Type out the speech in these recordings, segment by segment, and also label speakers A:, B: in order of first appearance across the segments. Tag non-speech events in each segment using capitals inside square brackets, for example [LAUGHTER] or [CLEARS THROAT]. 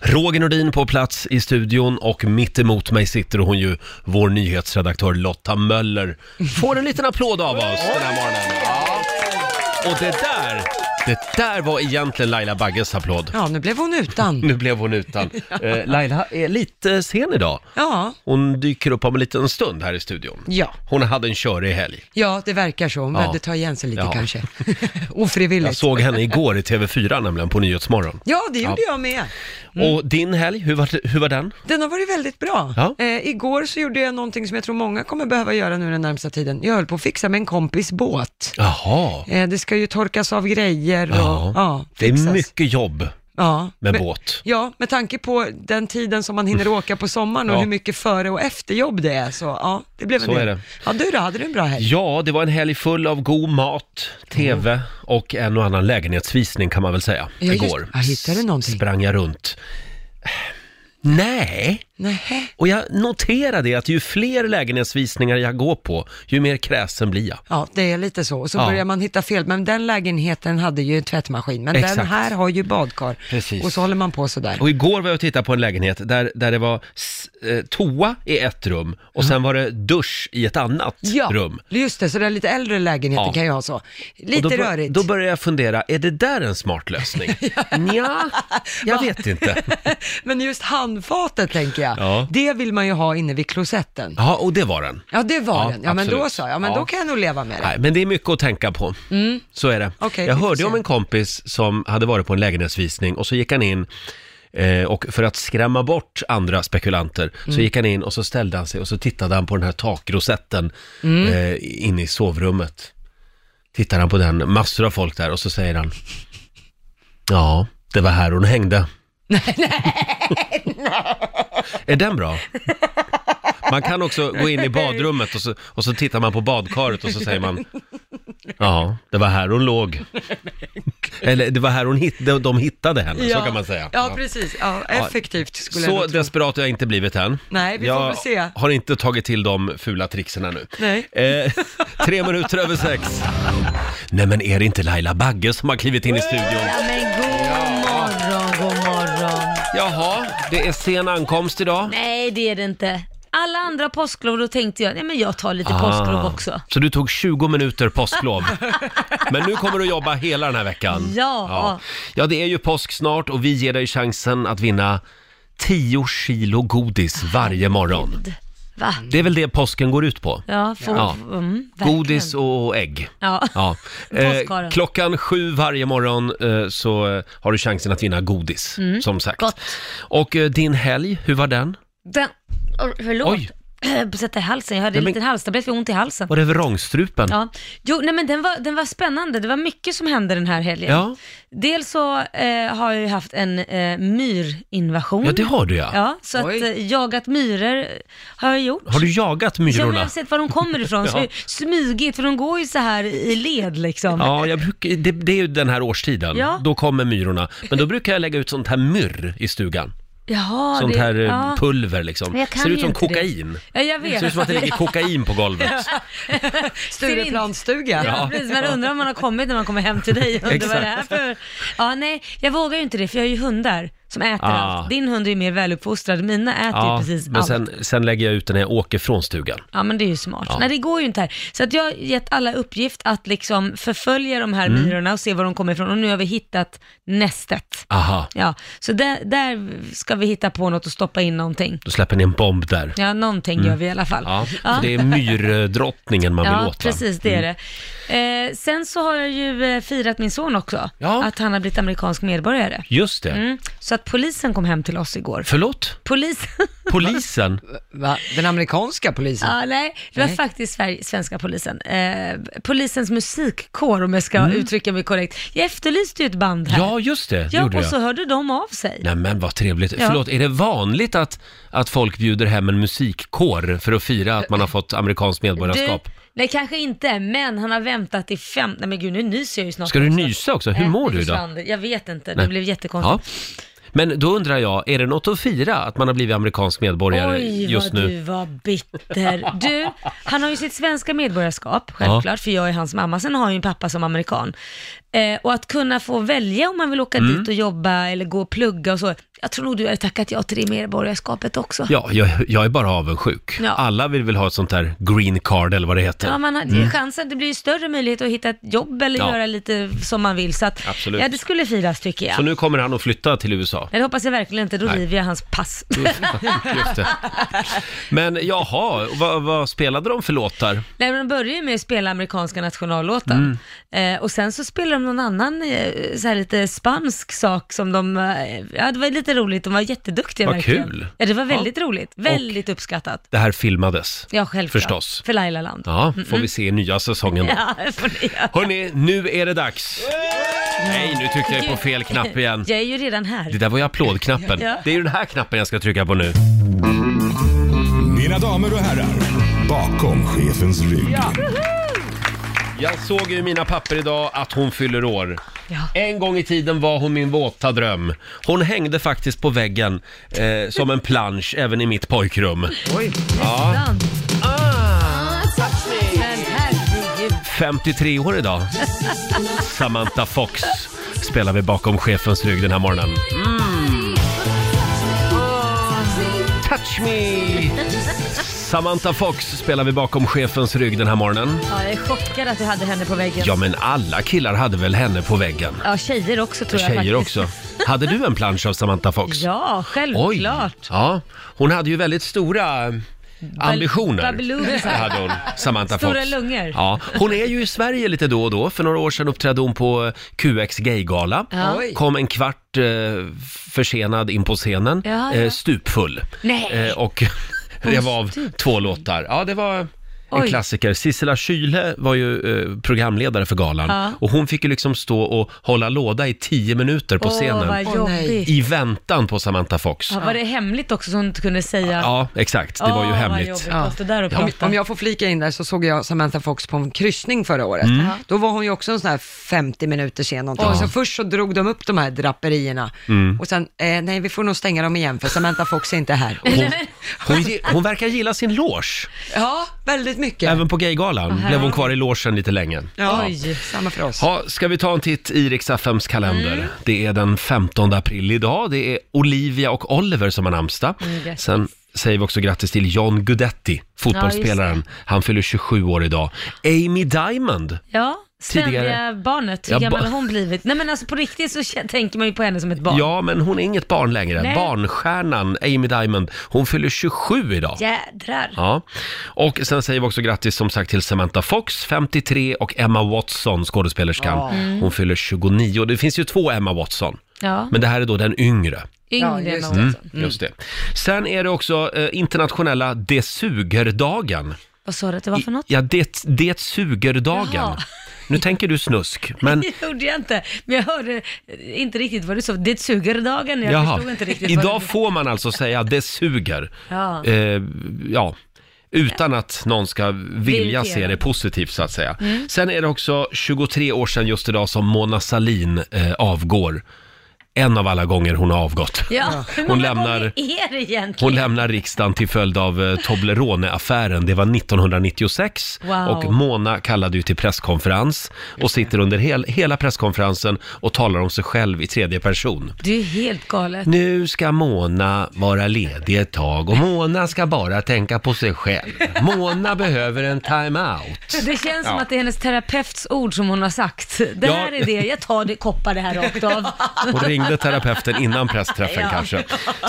A: Roger Nordin på plats i studion och mitt emot mig sitter hon ju, vår nyhetsredaktör Lotta Möller. Får en liten applåd av oss den här morgonen. Ja. Och det där, det där var egentligen Laila Bagges applåd.
B: Ja, nu blev hon utan.
A: Nu blev hon
B: [LAUGHS]
A: utan. Eh, Laila är lite sen idag.
B: Ja,
A: Hon dyker upp om en liten stund här i studion.
B: ja.
A: Hon hade en körig helg.
B: Ja, det verkar så. Hon
A: Ja.
B: behövde ta igen sig lite
A: Ja.
B: kanske. [LAUGHS] Ofrivilligt.
A: Jag såg henne igår i TV4 nämligen, på Nyhetsmorgon.
B: Ja, det gjorde jag Mm. med.
A: Och din helg, hur var, hur var den?
B: Den har varit väldigt bra.
A: Ja.
B: Eh, igår så gjorde jag någonting som jag tror många kommer behöva göra nu den närmsta tiden. Jag höll på att fixa med en kompis båt.
A: Jaha,
B: Eh, det ska ju torkas av grejer och
A: Ja.
B: ja,
A: det
B: fixas.
A: är mycket jobb
B: ja,
A: med
B: men-
A: båt.
B: Ja, med tanke på den tiden som man hinner åka på sommaren och
A: Ja.
B: hur mycket före och efterjobb det är så ja, det blev en
A: Så
B: del.
A: är det.
B: Ja, du då, hade du en bra helg?
A: Ja, det var en helg full av god mat, tv och en och annan lägenhetsvisning kan man väl säga,
B: Ja, just-
A: igår.
B: Ja, hittade du någonting?
A: Sprang jag runt. Nej,
B: Nähä.
A: och jag noterade att ju fler lägenhetsvisningar jag går på, ju mer kräsen blir jag.
B: Ja, det är lite så. Och så
A: Ja.
B: börjar man hitta fel. Men den lägenheten hade ju tvättmaskin, men den
A: Exakt.
B: här har ju badkar.
A: Precis.
B: Och så håller man på sådär.
A: Och igår var jag och tittade på en lägenhet där, där det var s- eh, toa i ett rum och sen var det dusch i ett annat
B: Ja,
A: rum.
B: just det. Så den lite äldre lägenheten
A: Ja.
B: kan ju ha så.
A: Och
B: Lite
A: då, bör-
B: rörigt.
A: Då började jag fundera, är det där en smart
B: [LAUGHS]
A: lösning? ja, jag vet inte.
B: Men just handfatet tänker jag,
A: Ja.
B: det vill man ju ha inne vid klosetten.
A: Ja, och det var den.
B: Ja, det var
A: Ja,
B: den. Ja, men
A: absolut.
B: då så. Ja, men
A: Ja.
B: då kan jag nog leva med det. Mm.
A: Nej, men det är mycket att tänka på. [LAUGHS] Så är det.
B: Okej,
A: jag
B: vi får
A: hörde
B: se.
A: om en kompis som hade varit på en lägenhetsvisning och så gick han in eh, och för att skrämma bort andra spekulanter
B: Mm.
A: så gick han in och så ställde han sig och så tittade han på den här takrosetten
B: Mm.
A: eh, inne i sovrummet. Tittar han på den, massor av folk där och så säger han Ja, det var här hon
B: [LAUGHS]
A: hängde. Är den bra? Man kan också gå in i badrummet och så, och så tittar man på badkaret och så säger man Ja, det var här hon låg. Eller det var här hon hit, de, de hittade henne, så kan man säga.
B: Ja, precis. Ja, effektivt skulle jag
A: Så
B: nog tro.
A: desperat har jag inte blivit än.
B: Nej, vi får
A: jag
B: väl se.
A: har inte tagit till de fula tricksen ännu.
B: Nej.
A: Eh, [LAUGHS] tre minuter över sex. Nej men är det inte Laila Bagge som har klivit in i studion?
C: Ja, men god morgon, god morgon.
A: Jaha, det är sen ankomst idag.
C: Nej, det är det inte. Alla andra påsklov, då tänkte jag, nej men jag tar lite påsklov också.
A: Så du tog 20 minuter Ah, påsklov. Men nu kommer du jobba hela den här veckan.
C: Ja.
A: ja. Ja, det är ju påsk snart och vi ger dig chansen att vinna 10 kilo godis varje morgon.
C: [LAUGHS] Va?
A: Det är väl det påsken går ut på.
C: Ja, får,
A: Ja.
C: Mm, verkligen.
A: Godis och ägg.
C: Ja. [LAUGHS]
A: Ja. Eh,
C: Påskharen.
A: klockan sju varje morgon eh, så eh, har du chansen att vinna godis, som sagt.
C: Mm. gott.
A: Och eh, din helg, hur var den?
C: Den, oh, förlåt. [CLEARS THROAT]
A: Oj.
C: Sätta i halsen, jag hade
A: Nej,
C: en
A: men-
C: liten halstablett, jag har ont i halsen.
A: Var det vrångstrupen?
C: Ja. Jo, nej men den var, den var spännande. Det var mycket som hände den här helgen.
A: Ja.
C: Dels så eh, har jag ju haft en eh, myrinvasion.
A: Ja, det har du ja.
C: Ja, så att
B: Oj.
C: eh, jagat myror har jag gjort.
A: Har du jagat myrorna?
C: Ja, men jag har sett var de kommer
A: [LAUGHS]
C: ifrån, så
A: Ja.
C: smygigt, för de går ju så här i led liksom.
A: Ja, jag brukar, det, det är ju den här årstiden.
C: Ja.
A: Då kommer myrorna. Men då brukar jag lägga ut sånt här myrr i stugan.
C: Jaha,
A: sånt
C: det,
A: här eh,
C: ja.
A: pulver liksom.
C: Men jag kan
A: Ser ut
C: ju
A: som
C: inte det.
A: kokain.
C: Ja, jag vet.
A: Ser ut som att det ligger kokain på
C: [LAUGHS]
A: golvet.
B: Stureplansstuga.
C: Ja, precis. Man undrar om man har kommit när man kommer hem till dig. Undrar vad det är för... Ja, nej, jag vågar ju inte det, för jag har ju hundar som äter
A: Ah.
C: allt. Din hund är ju mer väluppfostrad, mina äter ju
A: Ja,
C: precis
A: men
C: allt.
A: sen, sen lägger jag ut den när jag åker från stugan.
C: Ja, men det är ju smart. Nej, det går ju inte här. Så att jag har gett alla uppgift att liksom förfölja de här
A: Mm.
C: myrorna och se var de kommer ifrån. Och nu har vi hittat nästet.
A: Aha,
C: Ja, så där, där ska vi hitta på något och stoppa in någonting.
A: då släpper ni en bomb där.
C: Ja, någonting gör vi i alla fall.
A: Mm. Ja, så det är myrdrottningen man vill
C: Ja,
A: åt va? Mm.
C: precis det är det. Eh, sen så har jag ju eh, firat min son också,
A: Ja.
C: att han har blivit amerikansk medborgare.
A: Just det.
C: Mm. Så att polisen kom hem till oss igår.
A: Förlåt?
B: [LAUGHS]
C: Polisen?
A: Polisen?
B: Va? Den amerikanska polisen?
C: Ja, nej, det var
B: Nej.
C: faktiskt Sver- svenska polisen. Eh, polisens musikkår om jag ska uttrycka mig korrekt. Jag efterlyste ju ett band här.
A: Mm. Ja, just det. det
C: Ja,
A: gjorde
C: och
A: jag.
C: så hörde de av sig.
A: Nej men vad trevligt.
C: Ja.
A: Förlåt, är det vanligt att, att folk bjuder hem en musikkår för att fira att man har
C: Eh,
A: fått amerikanskt medborgarskap?
C: Du, nej, kanske inte, men han har väntat i fem... Nej men gud, nu nyser jag ju snart.
A: Ska du
C: också.
A: nysa också? Hur
C: Nej,
A: mår
C: det
A: du idag?
C: försvann. Jag vet inte,
A: Nej.
C: det blev jättekonstigt.
A: Ja. Men då undrar jag, är det något att fira att man har blivit amerikansk medborgare
C: Oj,
A: just
C: vad
A: nu?
C: du var bitter. Du, han har ju sitt svenska medborgarskap, självklart, för jag är hans mamma. Sen har han ju en pappa som
A: Mm.
C: amerikan. Eh, och att kunna få välja om man vill åka dit och jobba eller gå och plugga och så, jag tror nog du hade tackat ja till det medborgarskapet också.
A: Ja, jag, jag är bara avundsjuk.
C: Ja.
A: Alla vill väl ha ett sånt där green card eller vad det heter. Mm.
C: Ja, man hade ju chansen. Det blir ju större möjlighet att hitta ett jobb eller
A: Ja.
C: göra lite som man vill. Så att,
A: Absolut.
C: ja, det skulle firas tycker jag.
A: Så nu kommer han att flytta till USA.
C: Nej, det hoppas jag verkligen inte.
A: [LAUGHS]
C: Då
A: Nej.
C: river jag hans pass.
A: Just det. Men jaha, vad, vad spelade de för låtar?
C: Nej, men de börjar ju med att spela amerikanska
A: Mm.
C: nationallåten. Eh, och sen så spelar de någon annan, eh, så här lite spansk sak som de, eh, ja det var lite roligt. De var jätteduktiga
A: Vad
C: verkligen.
A: kul.
C: Ja, det var väldigt roligt. Väldigt uppskattat.
A: Det här filmades.
C: Ja, självklart.
A: Förstås.
C: För Laila Land.
A: Ja, får vi se i nya säsongen då.
C: [LAUGHS] Ja, det får ni göra.
A: Hörni, nu är det dags! Nej, nu tryckte jag på fel knapp igen.
C: Jag är ju redan här.
A: Det där var ju applådknappen.
C: Ja.
A: Det är ju den här knappen jag ska trycka på nu.
D: Mina damer och herrar, bakom chefens rygg.
A: Jag såg ju i mina papper idag att hon fyller år.
C: Ja.
A: En gång i tiden var hon min våta dröm. Hon hängde faktiskt på väggen eh, som en plansch även i mitt pojkrum.
B: Oj.
A: Ja,
C: Men herregud.
A: 53 år idag. Samantha Fox spelar vi bakom chefens rygg den här morgonen. Mm. Touch me! Samantha Fox spelar vi bakom chefens rygg den här morgonen.
C: Ja, jag är chockad att du hade henne på väggen.
A: Ja, men alla killar hade väl henne på väggen?
C: Ja, tjejer också tror jag
A: Tjejer
C: faktiskt.
A: också. Hade du en plansch av Samantha Fox?
C: Ja,
A: Oj!
C: självklart.
A: Ja, hon hade ju väldigt stora eh, ambitioner.
C: babbelusar.
A: Det [LAUGHS] hade hon, Samantha
C: Stora
A: Fox.
C: lungor.
A: Ja, hon är ju i Sverige lite då och då. För några år sedan uppträdde hon på eh, QX Gaygala.
C: Ja.
B: Oj.
A: Kom en kvart eh, försenad in på scenen,
C: Ja,
A: eh,
C: ja.
A: stupfull.
C: Nej.
A: Eh, och [LAUGHS] rev av två låtar. Ja, det var... En
C: Oj.
A: klassiker. Sissela Kyle var ju eh, programledare för galan
C: Ja.
A: och hon fick ju liksom stå och hålla låda i tio minuter på
C: Åh,
A: scenen
C: vad
B: Åh, nej.
C: jobbigt.
A: i väntan på Samantha Fox.
C: Ja, var det hemligt också så hon inte kunde säga?
A: Ja, exakt. Det var ju
C: Åh,
A: hemligt.
C: Vad jobbigt
B: Ja.
C: att stå där och
B: Om,
C: prata.
B: om jag får flika in där så såg jag Samantha Fox på en kryssning förra året.
A: Mm.
B: Då var hon ju också en sån här 50 minuter sen någonting. Så först så drog de upp de här draperierna
A: Mm.
B: och sen, eh, nej vi får nog stänga dem igen för Samantha Fox är inte här. Och- [LAUGHS]
C: [LAUGHS]
A: Hon, hon, ge- hon verkar gilla sin loge.
B: Ja, väldigt mycket.
A: Även på Gaygalan blev hon kvar i logen lite länge.
B: Ja,
C: Oj.
B: samma för oss. Mm.
A: Ha, ska vi ta en titt i Rix FMs kalender? Det är den 15 april idag. Det är Olivia och Oliver som har namnsdag.
B: Mm,
C: grattis.
A: Sen säger vi också grattis till John Guidetti,
C: Ja,
A: fotbollsspelaren. Han fyller 27 år idag. Amy Diamond.
C: Ja, ständiga
A: Tidigare.
C: barnet. Hur
A: Ja,
C: gammal
A: ba-
C: har hon blivit? Nej men alltså på riktigt så k- tänker man ju på henne som ett barn.
A: Ja, men hon är inget barn längre.
C: Nej.
A: Barnstjärnan Amy Diamond, hon fyller 27 idag.
C: Jädrar.
A: Ja, och sen säger vi också grattis som sagt till Samantha Fox, 53, och Emma Watson, skådespelerskan.
C: Mm.
A: Hon fyller 29. Det finns ju två Emma Watson,
C: Ja,
A: men det här är då den yngre.
B: Ja,
C: yngre än
B: just
C: hon.
A: Mm, Just det. Sen är det också eh, internationella Det suger-dagen.
C: Vad sa du att det var för något?
A: Ja, Det, det suger-dagen.
C: Jaha.
A: Nu tänker du snusk,
C: [LAUGHS]
A: men
C: Det gjorde jag inte, men jag hörde inte riktigt vad du sa. Det suger dagen, jag
A: jaha.
C: förstod inte riktigt. vad
A: Idag
C: du...
A: får man alltså säga Det suger.
C: Ja.
A: Eh, ja. Utan att någon ska vilja se
C: Irriterad.
A: det positivt så att säga.
C: Mm.
A: Sen är det också 23 år sedan just idag som Mona Salin eh, avgår. En av alla gånger hon har avgått.
C: Ja, hur många
A: Hon lämnar-
C: gånger är det egentligen?
A: Hon lämnar riksdagen till följd av eh, Toblerone-affären. Det var 1996
C: Wow.
A: och Mona kallade ju till presskonferens och sitter under hel, hela presskonferensen och talar om sig själv i tredje person.
C: Det är ju helt galet.
A: Nu ska Mona vara ledig ett tag och Mona ska bara tänka på sig själv. Mona behöver en time-out.
C: Det känns som att det är hennes terapeuts ord som hon har sagt. Det
A: Ja.
C: här är det, jag tar det, koppar det här rakt av.
A: Hon ringde terapeuten innan pressträffen
C: Ja.
A: kanske.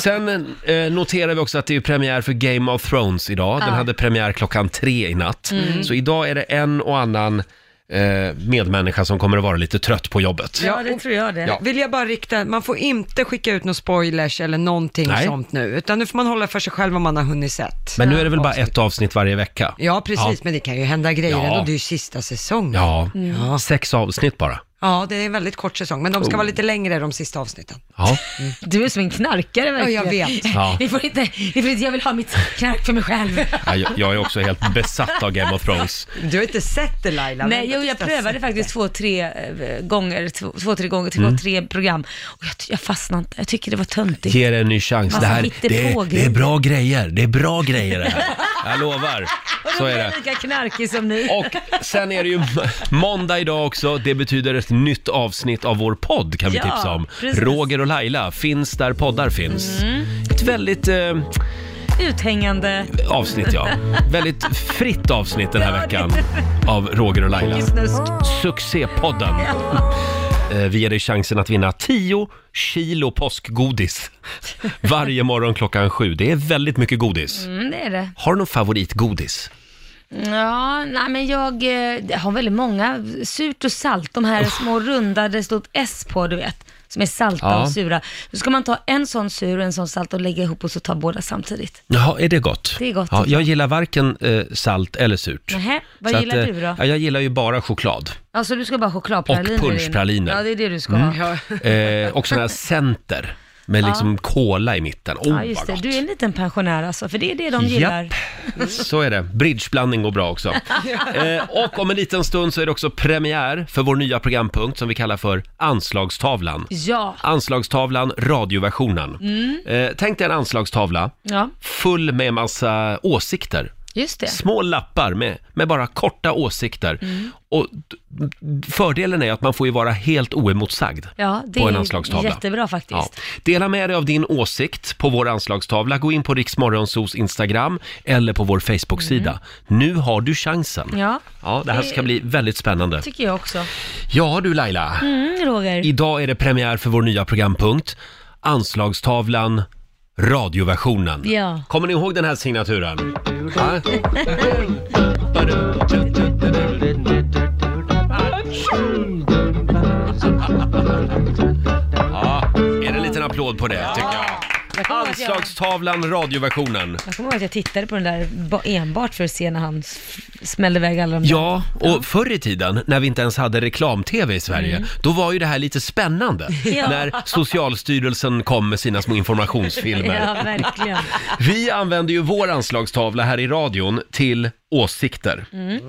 A: Sen eh, noterar vi också att det är premiär för Game of Thrones idag. Den
C: Ja. Mm.
A: hade premiär klockan tre i natt. Så idag är det en och annan eh, medmänniska som kommer att vara lite trött på jobbet.
C: Ja, det tror jag det.
A: Ja.
B: Vill jag bara rikta, man får inte skicka ut några spoilers eller någonting
A: Nej.
B: sånt nu, utan nu får man hålla för sig själv vad man har hunnit sett.
A: Men nu är det väl bara ett avsnitt varje vecka?
B: Ja, precis,
A: Ja.
B: men det kan ju hända grejer
A: Ja.
B: ändå, det är ju sista säsongen. Ja.
A: Ja,
C: Mm.
A: sex avsnitt bara.
B: det är en väldigt kort säsong, men de ska vara
A: Oh.
B: lite längre de sista avsnitten.
A: Ja.
C: Du är som en knarkare verkligen.
B: Ja, jag vet.
A: Ja.
C: Vi får inte, vi får inte, jag vill ha mitt knark för mig själv.
A: Ja, Jag, jag är också helt besatt av Game of Thrones.
B: Du har inte sett det Laila?
C: Nej,
B: Vänta
C: jo,
B: tills
C: jag
B: du har
C: prövade
B: sett
C: faktiskt två, tre eh, gånger, två, två tre gånger,
A: Mm.
C: två, tre program. Och jag, jag fastnade inte, jag tycker det var töntigt.
A: Ge det en ny chans.
C: Massa
A: Det, här, det,
C: hittepågrejer.
A: är, det är bra grejer. Det är bra grejer det här. Jag lovar.
C: Och då
A: Så är det.
C: blir jag lika knarkig som ni.
A: Och sen är det ju m- måndag idag också. Det betyder ett nytt avsnitt av vår podd kan vi
C: Ja,
A: tipsa om.
C: precis.
A: Roger och Laila finns där poddar finns.
E: Mm.
A: Ett väldigt eh,
C: Uthängande
A: avsnitt ja. Väldigt fritt avsnitt den här
C: Ja, det-
A: veckan av Roger och Laila.
C: snusk.
A: Succépodden. Eh, Vi ger dig chansen att vinna 10 kilo
E: [LAUGHS]
A: påskgodis varje morgon klockan sju. Det är väldigt mycket godis.
E: [LAUGHS] Mm, det är det.
A: Har du någon favoritgodis?
E: Ja, nej men jag eh, jag har väldigt många. Surt och salt, de här små runda, det står ett S på, du vet. Som är salta
A: Ja.
E: och sura. Då ska man ta en sån sur och en sån salt och lägga ihop och så ta båda samtidigt.
A: Jaha, är det gott?
E: Det är gott.
A: Ja, jag gillar varken eh, salt eller surt.
E: Nähä, vad
A: Så
E: gillar
A: att, eh,
E: du då?
A: Ja, jag gillar ju bara choklad.
E: Alltså du ska bara ha chokladpraliner
A: Och
E: in.
A: punschpraliner. Mm.
E: Ja, det är det du ska ha.
A: [LAUGHS]
B: Ja.
A: Eh, och sådana här center med liksom kola i mitten. Åh,
E: Ja, just
A: Oh, vad
E: det.
A: gott!
E: Du är en liten pensionär alltså, för det är det de gillar.
A: [LAUGHS] Japp, så är det. Bridgeblandning går bra
E: [LAUGHS]
A: också. Eh, och om en liten stund så är det också premiär för vår nya programpunkt som vi kallar för Anslagstavlan.
E: Ja,
A: Anslagstavlan, radioversionen. Eh, tänk dig en anslagstavla
E: Mm. ja,
A: full med massa åsikter.
E: just det.
A: Små lappar med, med bara korta åsikter.
E: Mm.
A: Och d- d- fördelen är att man får ju vara helt oemotsagd
E: Ja, det
A: på en
E: är
A: anslagstavla.
E: jättebra faktiskt.
A: Ja. Dela med dig av din åsikt på vår anslagstavla. Gå in på Riksmorgonsos Instagram eller på vår Facebook-sida. Nu har du chansen.
E: Mm. Ja.
A: Ja, Eh. det här ska bli väldigt spännande.
E: Tycker jag också.
A: Ja du Laila,
E: Mm, Roger.
A: idag är det premiär för vår nya programpunkt. Anslagstavlan, radioversionen.
E: Ja.
A: Kommer ni ihåg den här signaturen? Ja. Ja, är det en liten applåd på det tycker jag.
E: Jag kommer ihåg att jag- Jag kommer ihåg att jag tittade på den där ba- enbart för att se när han s- smällde iväg alla de där.
A: Ja, och förr i tiden när vi inte ens hade reklam-tv i Sverige, då var ju det här lite spännande. När Socialstyrelsen kom med sina små informationsfilmer.
E: Ja, verkligen.
A: Vi använder ju vår anslagstavla här i radion till åsikter.
C: Mm.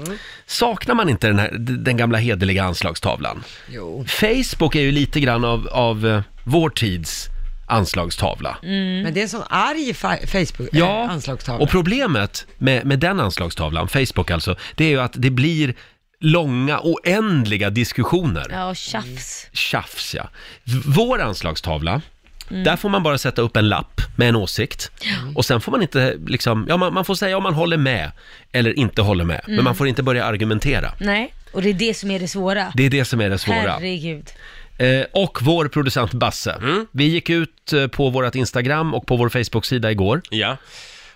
A: Saknar man inte den, här, den gamla hederliga anslagstavlan?
B: Jo,
A: Facebook är ju lite grann av, av eh, vår tids anslagstavla.
C: Mm.
B: men det är en sån arg fa- Facebook
A: Ja,
B: eh, anslagstavla.
A: och problemet med, med den anslagstavlan, Facebook alltså, det är ju att det blir långa, oändliga diskussioner.
E: Ja, och tjafs.
A: Tjafs, ja. V- Vår anslagstavla, där får man bara sätta upp en lapp med en åsikt. Och sen får man inte liksom, ja man, man får säga om man håller med eller inte håller med. Men man får inte börja argumentera.
E: Nej, och det är det som är det svåra.
A: Det är det som är det svåra.
E: Herregud.
A: Eh, och vår producent Basse. Vi gick ut eh, på vårt Instagram och på vår Facebook-sida igår.
F: Ja.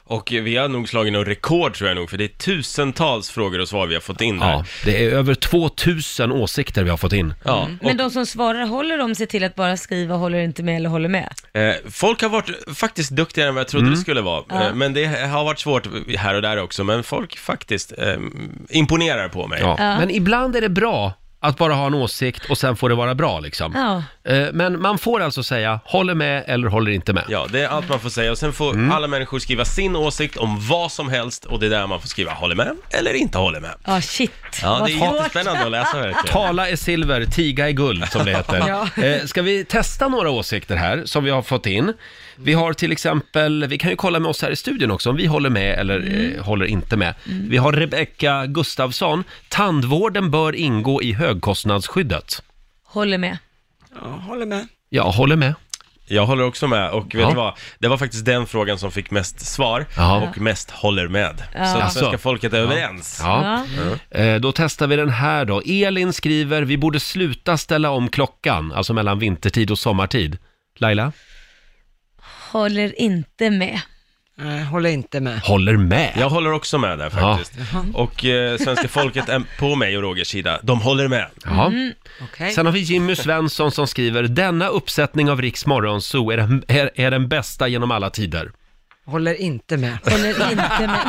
F: Och vi har nog slagit något rekord tror jag nog, för det är tusentals frågor och svar vi har fått in här.
A: Ja, det är över 2000 åsikter vi har fått in.
F: Ja,
E: Men de som svarar, håller de sig till att bara skriva håller inte med eller håller med?
F: och, eh, folk har varit faktiskt duktigare än vad jag trodde
A: Mm.
F: det skulle vara. Eh, men det har varit svårt här och där också, men folk faktiskt eh, imponerar på mig.
A: Ja. Men ibland är det bra att bara ha en åsikt och sen får det vara bra liksom.
E: Ja.
A: Eh, Men man får alltså säga, håller med eller håller inte med. Mm.
F: Ja, det är allt man får säga och sen får alla människor skriva sin åsikt om vad som helst och det är där man får skriva håller med eller inte håller med.
E: Ja, shit.
F: Ja,
E: Vad
F: det är
E: svårt.
F: jättespännande att läsa verkligen.
A: Tala är silver, tiga är guld som det
E: [LAUGHS]
A: heter. eh, ska vi testa några åsikter här som vi har fått in? Vi har till exempel, vi kan ju kolla med oss här i studion också om vi håller med eller
E: Mm.
A: eh, håller inte med. Vi har Rebecka Gustafsson, tandvården bör ingå i högkostnadsskyddet.
E: Håller med.
B: Ja, håller med.
A: Jag håller med.
F: Jag håller också med och vet
A: Ja.
F: du vad? Det var faktiskt den frågan som fick mest svar
A: Jaha.
F: och mest håller med. Så
A: Jaså.
F: att svenska folket är överens.
A: Alltså. Ja. Eh, Då testar vi den här då. Elin skriver, vi borde sluta ställa om klockan, alltså mellan vintertid och sommartid. Laila?
E: Håller inte med.
B: Nej, håller inte med.
A: Håller med.
F: Jag håller också med där faktiskt. Och eh, svenska folket är på mig och Rogers sida. De håller med.
A: Ja.
E: Mm.
B: Okej.
A: Sen har vi Jimmy Svensson som skriver, denna uppsättning av Riks Morgonzoo är, den- är, är den bästa genom alla tider.
B: Håller inte med.
E: Håller inte med.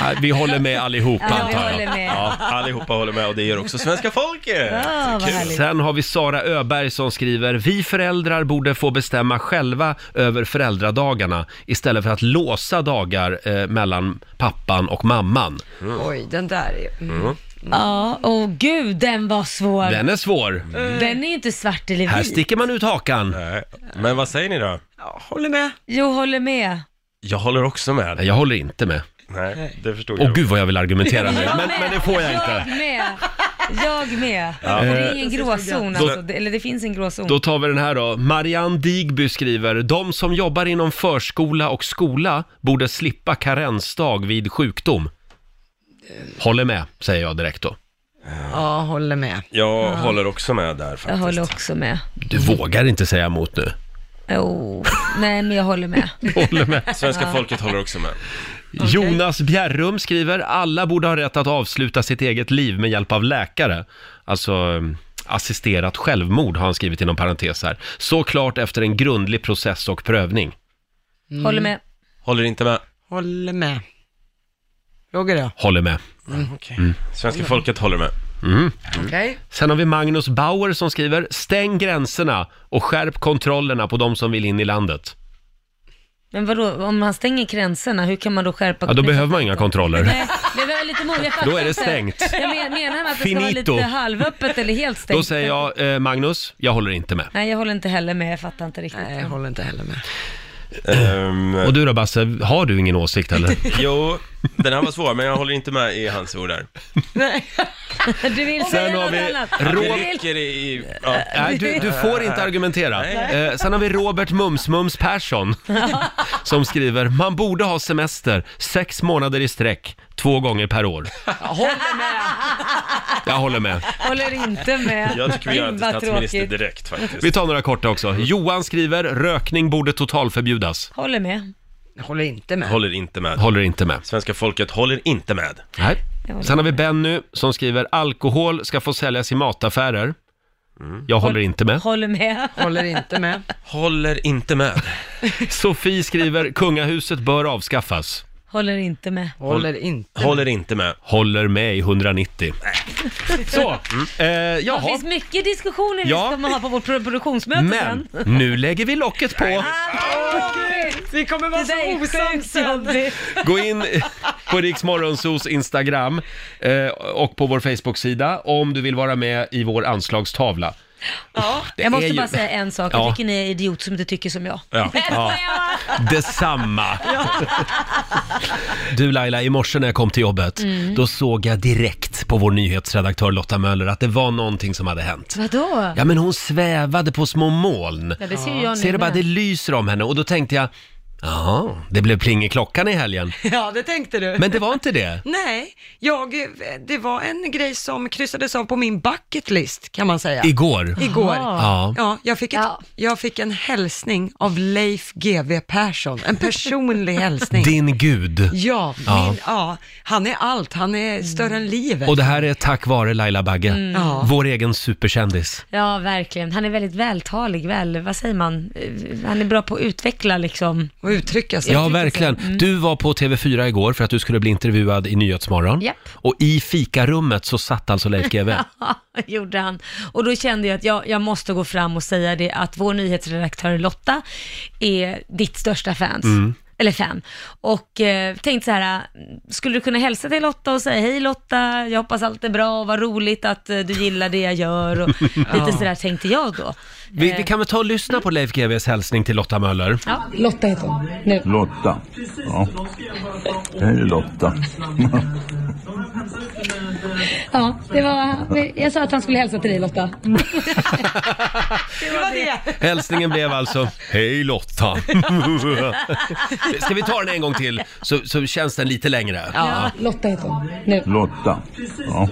A: Ja, Vi håller med allihopa
E: Ja, vi
A: antar jag.
E: håller med.
F: Ja, allihopa håller med och det gör också svenska folket.
E: Ja, vad härligt.
A: Sen har vi Sara Öberg som skriver, vi föräldrar borde få bestämma själva över föräldradagarna istället för att låsa dagar eh, mellan pappan och mamman.
F: Mm.
B: Oj, den där är... Mm.
E: Ja, åh gud, den var svår. Den,
A: Den är svår.
E: är ju inte svart eller
A: Här
E: vit.
A: sticker man ut hakan.
F: Nej, Men vad säger ni då?
B: Ja, håller med.
E: Jo, håller med.
F: Jag håller också med.
A: Nej, jag håller inte med.
F: Nej, det förstod
A: Åh
F: jag.
A: gud vad jag vill argumentera nu,
C: Jag
A: men,
C: med.
A: men det får jag inte.
C: Jag med. Jag med. Det
B: Eh,
C: är ingen gråzon alltså. Det, eller det finns en gråzon.
A: Då tar vi den här då. Marianne Digby skriver, de som jobbar inom förskola och skola borde slippa karensdag vid sjukdom. Håller med, säger jag direkt då.
B: Ja, håller med.
F: Jag håller också med där
C: jag
F: faktiskt.
C: håller också med.
A: Du vågar inte säga emot nu.
C: Oh. Nej, men jag håller med.
A: Håller med.
F: Svenska folket håller också med.
A: Jonas Bjerrum skriver, alla borde ha rätt att avsluta sitt eget liv med hjälp av läkare. Alltså eh, assisterat självmord har han skrivit inom parentes här. Såklart efter en grundlig process och prövning.
C: Håller med.
F: Håller inte med.
B: Mm. Håller med. Roger då?
A: Håller med.
F: Mm,
A: Mm.
F: Svenska folket håller med.
B: Okej.
A: Sen har vi Magnus Bauer som skriver “Stäng gränserna och skärp kontrollerna på de som vill in i landet”.
C: Men vadå, om man stänger gränserna, hur kan man då skärpa liksom?
A: Ja, då behöver man inga kontroller.
C: [LAUGHS] Nej, det var lite mot, jag fattar
A: Då är det
C: inte.
A: stängt.
C: Jag men, menar att det ska
A: Finito.
C: vara lite halvöppet eller helt stängt.
A: Då säger jag, eh, Magnus, jag håller inte med.
C: Nej, jag håller inte heller med. Jag fattar inte riktigt.
B: Nej, jag håller inte heller med.
F: Ehm,
A: Och du då Basse, har du ingen åsikt eller?
F: jo, den här var svår, men jag håller inte med i hans ord där.
C: [LAUGHS] Du vill
A: Sen
C: säga
A: har
C: något
A: vi
C: annat. Äh,
F: Det
A: Robert...
F: rycker i... Ja.
A: Nej, du, du får inte [LAUGHS] argumentera. Eh, sen har vi Robert Mums-Mums
C: [LAUGHS]
A: Persson som skriver “Man borde ha semester sex månader i sträck, två gånger per
C: [LAUGHS]
A: år”. Jag håller med. Jag håller med.
C: [LAUGHS] Håller inte med.
F: Jag tycker vi gör det till
C: Vad
F: statsminister
C: tråkigt.
F: direkt faktiskt.
A: Vi tar några korta också. Johan skriver “Rökning borde totalförbjudas”.
C: Håller med.
B: Jag håller inte med.
F: Håller inte med.
A: Håller inte med.
F: Svenska folket håller inte med.
A: Nej.
C: Jag håller
A: Sen har vi Benny som skriver alkohol ska få säljas i mataffärer.
F: Mm.
A: Jag håller inte med.
C: Håller med.
B: Håller inte med.
F: Håller inte med.
A: [LAUGHS] Sofie skriver kungahuset bör avskaffas.
C: Håller inte med.
B: Håller inte med.
F: Håller inte med.
A: Håller med i 190. Så, eh,
C: Det
A: jaha.
C: finns mycket diskussioner
A: Ja.
C: vi ska ha på vårt pro- produktionsmöte
A: Men
C: sen.
A: [LAUGHS] nu lägger vi locket på.
B: Vi kommer vara
C: Det där är sjukt jobbigt.
A: Gå in på Rix Morgonzos Instagram eh, och på vår Facebook-sida om du vill vara med i vår anslagstavla. Ja, det
C: Jag
A: är
C: måste
A: ju-
C: bara säga en sak.
A: Ja.
C: Jag tycker ni är idiot som inte tycker som jag. [LAUGHS]
F: Ja.
E: [LAUGHS]
A: Detsamma! Du Laila, i morse när jag kom till jobbet,
E: Mm.
A: då såg jag direkt på vår nyhetsredaktör Lotta Möller att det var någonting som hade hänt.
C: Vadå?
A: Ja men hon svävade på små moln.
E: Ja, det ser ju jag nu
A: Ser du bara,
E: med.
A: det lyser om henne och då tänkte jag, jaha, det blev pling i klockan i
E: [LAUGHS]
A: helgen.
B: [LAUGHS] Ja, det tänkte du.
A: Men det var inte det.
B: Nej, jag, eh, det var en grej som kryssades av på min bucket list kan man säga.
A: Igår.
B: Igår.
A: Ja.
B: Ja, jag fick, ett,
E: Ja.
B: jag fick en hälsning av Leif GW Persson,
A: [LAUGHS]
B: en personlig hälsning.
A: Din gud.
B: Ja,
A: Ja. Mm.
B: Min, ja, han är allt, han är större än livet.
A: Och det här är tack vare Laila Bagge,
E: Mm.
B: Ja.
A: vår egen superkändis.
C: Ja, verkligen. Han är väldigt vältalig, väl, vad säger man? Eh, Han är bra på att utveckla liksom.
B: Och uttrycka sig.
A: Ja, verkligen.
C: Mm.
A: Du var på TV4 igår för att du skulle bli intervjuad i Nyhetsmorgon.
E: Japp.
A: Och i fikarummet så satt alltså [LAUGHS] Leif GW.
C: [LAUGHS] Ja, gjorde han. Och då kände jag att jag, jag måste gå fram och säga det att vår nyhetsredaktör Lotta är ditt största fans.
A: Mm.
C: Eller fan. Och eh, tänkte så här, äh, skulle du kunna hälsa till Lotta och säga hej Lotta, jag hoppas allt är bra och vad roligt att eh, du gillar det jag
A: [LAUGHS]
C: gör och lite sådär tänkte jag då.
A: Vi, vi kan väl ta och lyssna på Leif GWs hälsning till Lotta Möller.
G: Lotta heter hon. Nu.
H: Lotta. Ja. Hej Lotta.
G: Ja, det var, jag sa att han skulle hälsa till dig Lotta.
A: Hälsningen blev alltså Hej Lotta! Ska vi ta den en gång till så, så känns den lite längre. Ja.
G: [LAUGHS] Lotta heter hon. Nu.
H: [LAUGHS] Lotta. Ja.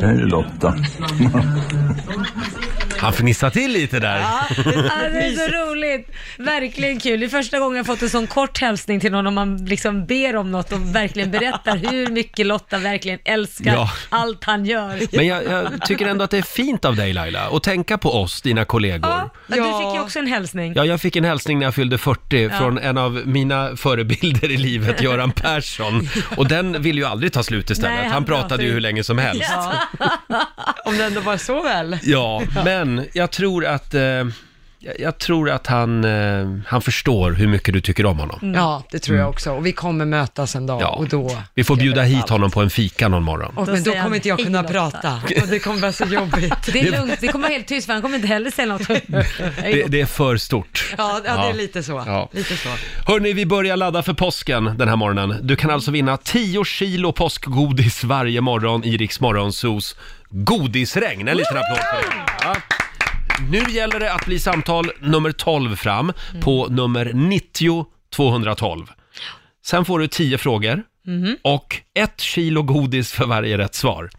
H: Hej Lotta. [LAUGHS]
A: Han fnissar till lite där.
C: Ja, det är så roligt. Verkligen kul. Det är första gången jag fått en sån kort hälsning till någon om man liksom ber om något och verkligen berättar hur mycket Lotta verkligen älskar
A: Ja.
C: allt han gör.
A: [LAUGHS] Men jag, jag tycker ändå att det är fint av dig Laila att tänka på oss, dina kollegor.
C: Ja, du fick ju också en hälsning.
A: Ja, jag fick en hälsning när jag fyllde 40 från en av mina förebilder i livet, Göran Persson. Och den vill ju aldrig ta slut istället.
C: Nej,
A: han,
C: han
A: pratade
C: pratar
A: ju
C: ju-
A: hur länge som helst. Ja,
B: Om det ändå var så väl.
A: men jag tror att eh, jag, jag tror att han, eh, han förstår hur mycket du tycker om honom.
B: Ja, det tror jag också. Och vi kommer mötas en dag
A: Mm. Ja.
B: och då...
A: Vi får bjuda hit honom på en fika någon morgon.
B: Och, men då
C: säger han,
B: kommer inte jag
C: "Hej,
B: kunna
C: Lotta."
A: [LAUGHS]
B: prata. Och det kommer vara så jobbigt.
E: [LAUGHS]
C: Det är lugnt, det kommer vara helt tyst för han kommer inte heller säga något.
A: [LAUGHS] Det, det är för stort.
B: Ja, ja, det
A: Ja.
B: är lite så.
A: Ja.
B: Lite så.
A: Hörni, vi börjar ladda för påsken den här morgonen. Du kan alltså vinna 10 kilo påskgodis varje morgon i Rix Morgonzos godisregn. En liten applåd för det. Ja. Nu gäller det att bli samtal nummer 12 fram
B: Mm.
A: på nummer 90 212. Sen får du 10 frågor
E: Mm-hmm.
A: och ett kilo godis för varje rätt svar.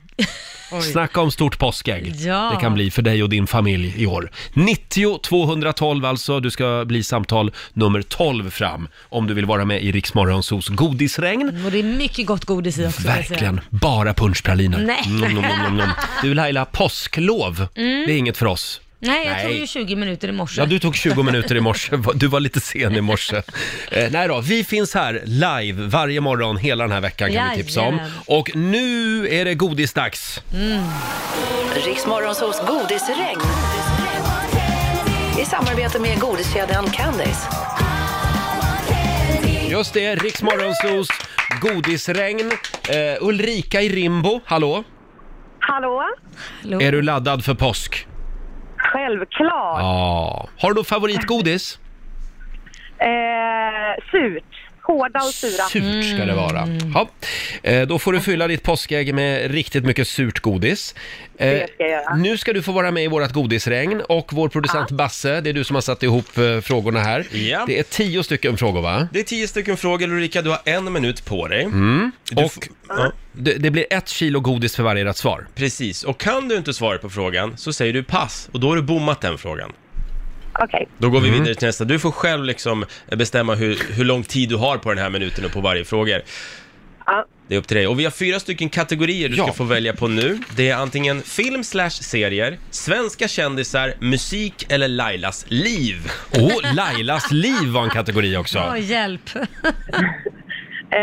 A: Snacka om stort påskägg
C: Ja.
A: det kan bli för dig och din familj i år. 90 212 alltså, du ska bli samtal nummer 12 fram om du vill vara med i Rix Morgonzos godisregn.
E: Mm,
C: Och det är mycket gott godis i också. kan jag säga.
A: Verkligen, bara punschpraliner.
C: Nej.
A: Mm, mm, mm, mm. Du Laila, påsklov, det är inget för oss.
E: Mm. Nej, jag
A: Nej.
E: tog ju 20 minuter i morse.
A: Ja, du tog 20 minuter i morse. [LAUGHS] Du var lite sen i morse. Eh, nej då, vi finns här live varje morgon hela den här veckan kan vi tipsa om.
E: Jajamän.
A: Och nu är det godisdags.
I: Riksmorgonsols Mm. godisregn. I samarbete med godiskedjan Candice.
A: Just det, Rix Morgonzos godisregn. Eh, Ulrika i Rimbo, hallå?
J: Hallå?
A: Är du laddad för påsk?
J: Självklart.
A: Ja. Har du något favoritgodis?
J: Eh, surt. Hårda och sura.
A: Surt ska det vara.
J: Mm.
A: Ja. Eh, då får du fylla ditt påskägg med riktigt mycket surt godis. Eh,
J: ska jag göra.
A: nu ska du få vara med i vårt godisregn och vår producent Basse, det är du som har satt ihop eh, frågorna här.
F: Ja.
A: Det är tio stycken frågor va?
F: Det är tio stycken frågor Ulrika, du har en minut på dig. Du
A: Mm. Och
F: f- ja,
A: det, det blir ett kilo godis för varje rätt svar.
F: precis, och kan du inte svara på frågan så säger du pass och då har du bommat den frågan.
J: Okej.
F: Då går vi
A: Mm.
F: vidare till nästa. Du får själv liksom bestämma hur, hur lång tid du har på den här minuten och på varje fråga.
J: Ja.
F: Det är upp till dig. Och vi har fyra stycken kategorier du
A: Ja.
F: ska få välja på nu. Det är antingen film slash serier, svenska kändisar, musik eller Lailas liv.
A: Och Lailas liv var en kategori också.
C: Åh, hjälp.
J: [LAUGHS] Eh,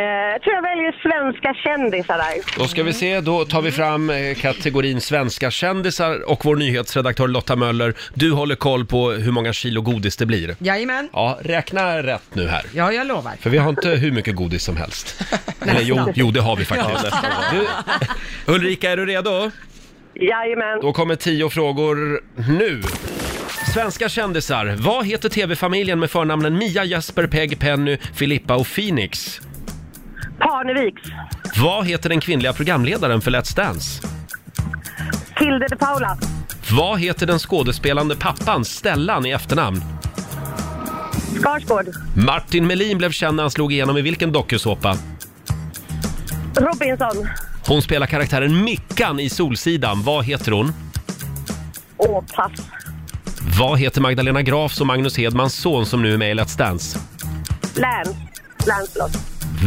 J: tror jag väljer svenska kändisar där.
A: Då ska vi se, då tar vi fram eh, kategorin svenska kändisar och vår nyhetsredaktör Lotta Möller, du håller koll på hur många kilo godis det blir.
B: Jajamän.
A: Ja, räkna rätt nu här.
B: Ja, jag lovar.
A: För vi har inte hur mycket godis som
B: [LAUGHS]
A: helst. Eller jo, jo, det har vi faktiskt. Du, Ulrika, är [LAUGHS] du redo?
J: Jajamän.
A: Då kommer tio frågor nu. Svenska kändisar. Vad heter tv-familjen med förnamnen Mia, Jesper, Peg, Penny, Filippa och Phoenix?
J: Parneviks.
A: Vad heter den kvinnliga programledaren för Let's Dance?
J: Tilde de Paula.
A: Vad heter den skådespelande pappan Stellan i efternamn?
J: Skarsgård.
A: Martin Melin blev känd när han slog igenom i vilken dokusåpa?
J: Robinson.
A: Hon spelar karaktären Mickan i Solsidan. Vad heter hon?
J: Åh, pass.
A: Vad heter Magdalena Grafs och Magnus Hedmans son som nu är med i Let's Dance?
J: Lance. Lancelot.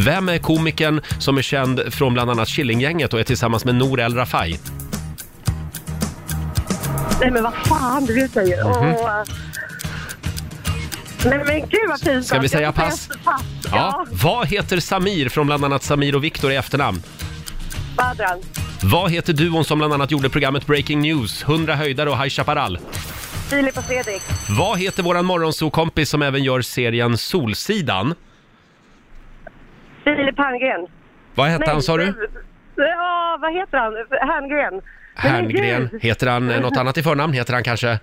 A: Vem är komikern som är känd från bland annat Killinggänget och är tillsammans med Nour El Rafai?
J: Nej men vad fan du säger.
A: Mhm.
J: Åh. Nej men gud vad pinsamt.
A: Ska vi
J: Jag
A: säga
J: får
A: pass?
J: pass. Ja.
A: Vad heter Samir från bland annat Samir och Viktor i efternamn?
J: Badran.
A: Vad heter duon som bland annat gjorde programmet Breaking News, 100 höjdare och High Chaparral?
J: Filip och Fredrik.
A: Vad heter våran morgonsokompis som även gör serien Solsidan?
J: Filip Herngren.
A: Vad hette han sa du?
J: Ja, vad heter han? Herngren. Men
A: Herngren.
J: gud.
A: Heter han eh, något annat i förnamn? Heter han kanske...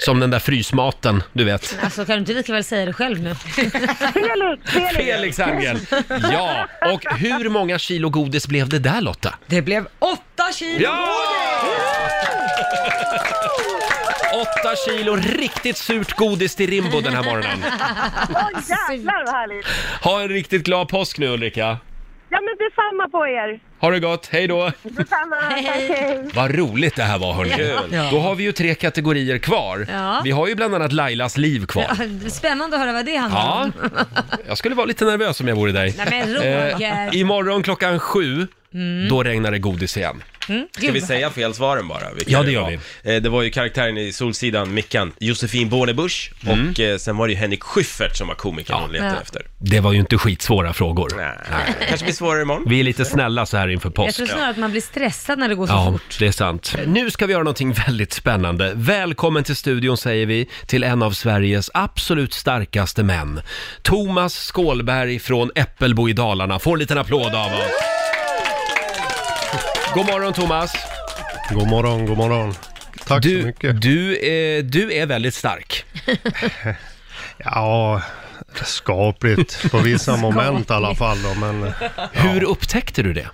A: Som den där frysmaten, du vet.
E: [LAUGHS] Alltså kan du inte lika väl säga det själv nu?
J: Felix, Felix.
A: [LAUGHS] Felix Herngren! Ja, och hur många kilo godis blev det där Lotta?
B: Det blev åtta kilo
A: Åtta kilo riktigt surt godis till Rimbo den här morgonen.
J: Åh jävlar vad härligt.
A: Ha en riktigt glad påsk nu Ulrika.
J: Ja men detsamma på er.
A: Ha det gott, hej då!
J: Detsamma. Hej.
A: Vad roligt det här var hörni.
F: Kul.
A: Då har vi ju tre kategorier kvar.
C: Ja.
A: Vi har ju bland annat Lailas liv kvar.
C: Spännande att höra vad det handlar om.
A: Ja, jag skulle vara lite nervös om jag vore dig. Eh,
C: Nej men Roger.
E: Mm.
A: Imorgon klockan sju, då regnar det godis igen.
F: Ska vi säga fel svaren bara? Vilka
A: Ja, det gör
F: var? Eh, Det var ju karaktären i Solsidan, Mickan, Josefin Bornebusch
A: Mm.
F: och eh, sen var det ju Henrik Schyffert som var komikern hon letade
E: Ja.
F: efter.
A: Det var ju inte skitsvåra frågor.
F: Kanske blir svårare imorgon.
A: Vi är lite snälla så här inför
E: Jag
A: påsk.
E: tror snarare att man blir stressad när det går så
A: Ja,
E: fort.
A: det är sant. Nu ska vi göra någonting [LAUGHS] väldigt spännande. Välkommen till studion säger vi till en av Sveriges absolut starkaste män. Thomas Skålberg från Äppelbo i Dalarna får en liten applåd av oss. God morgon Thomas!
K: God morgon, god morgon. Tack
A: du,
K: så mycket.
A: Du, eh, du är väldigt stark.
K: [LAUGHS] Ja, skapligt
A: [LAUGHS]
K: på vissa moment i alla
A: Skapligt.
K: fall. Då, men, eh,
A: Hur upptäckte du det?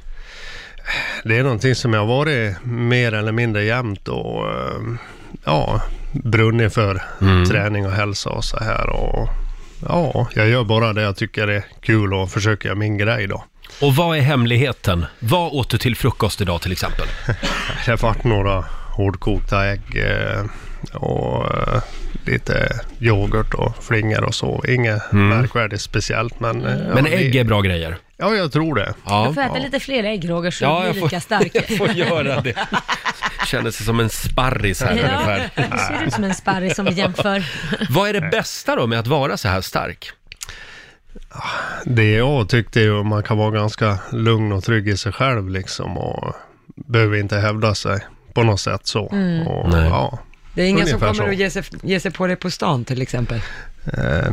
K: Det är någonting som jag har varit mer eller mindre jämt och eh, ja, brunnit för
A: Mm.
K: träning och hälsa och så här. Och, ja, jag gör bara det jag tycker är kul och försöker göra min
A: [LAUGHS]
K: grej då.
A: Och vad är hemligheten? Vad åt du till frukost idag till exempel?
K: Det har varit några hårdkokta ägg eh, och eh, lite yoghurt och flingor och så. Inget
A: Mm.
K: märkvärdigt speciellt men... eh,
A: Men ägg är bra grejer.
K: Ja, jag tror det.
A: Ja.
E: Du får äta lite fler ägg Roger så
A: Ja,
E: du
A: jag
E: blir
A: får-
E: lika stark.
A: [LAUGHS] jag får göra
E: [LAUGHS]
A: det. [LAUGHS] Känner sig som en sparris här
E: Ja,
A: ungefär.
E: [LAUGHS] det ser ut som en sparris som vi jämför.
A: Vad är det bästa då med att vara så här stark?
K: Det jag tyckte är att man kan vara ganska lugn och trygg i sig själv liksom och behöver inte hävda sig på något sätt så.
B: Mm.
K: Och,
B: Nej.
K: Ja,
B: Det är ingen som
K: ungefär
B: kommer och ger sig, ger sig på dig på stan till exempel.
K: Eh,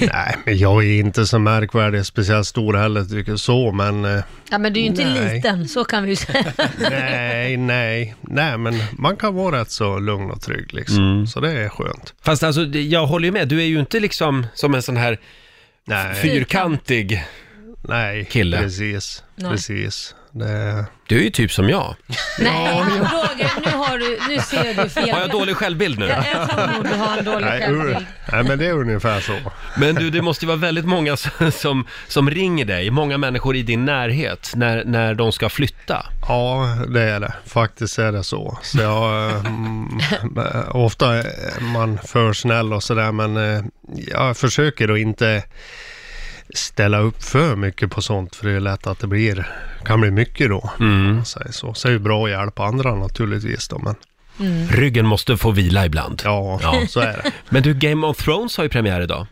K: nej, men jag är inte så märkvärdig, speciellt stor heller tycker jag så, men eh,
E: Ja, men du är ju inte
K: Nej.
E: liten, så kan vi ju säga.
K: nej, nej, nej, men man kan vara rätt så lugn och trygg liksom,
A: Mm.
K: så det är skönt.
A: Fast alltså, det- jag håller ju med. Du är ju inte liksom som en sån här fyrkantig
K: nej,
A: kille.
K: Precis,
E: Nej.
K: precis. Det...
A: Du är ju typ som jag.
E: [LAUGHS] Nej, Roger, nu, har du, nu ser du fel.
A: Har jag dålig självbild nu?
E: Jag, jag tror du har en dålig
K: Nej,
E: självbild.
K: ur- nej, men det är ungefär så.
A: Men du, det måste ju vara väldigt många som- som, som ringer dig, många människor i din närhet, när, när de ska flytta.
K: Ja, det är det. Faktiskt är det så. så jag, eh, mm, eh, ofta är man för snäll och sådär, men eh, jag försöker att inte ställa upp för mycket på sånt, för det är lätt att det blir, kan bli mycket då.
A: Mm.
K: om man säger så. så är det bra att hjälpa andra naturligtvis då, men
E: Mm.
A: Ryggen måste få vila ibland.
K: Ja, så är det.
A: Men du, Game of Thrones har ju premiär idag.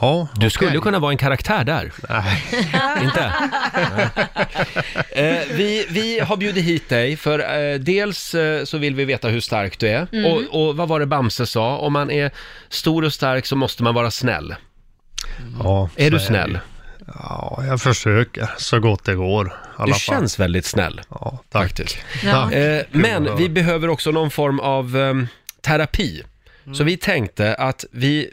K: Ja,
A: Du skulle kunna vara en karaktär där.
K: Nej.
A: [LAUGHS] Inte? Eh, vi, vi har bjudit hit dig för eh, dels eh, så vill vi veta hur stark du är
E: Mm.
A: och, och vad var det Bamse sa? Om man är stor och stark så måste man vara snäll.
K: ja,
A: Är
K: så
A: du
K: det.
A: snäll?
K: Ja, jag försöker så gott det går. i alla
A: Du
K: fall.
A: känns väldigt snäll.
K: Ja, tack. Faktiskt.
A: Ja.
K: Tack.
A: Eh, men
K: Kul
A: vi
K: att-
A: behöver också någon form av eh, terapi. Så vi tänkte att vi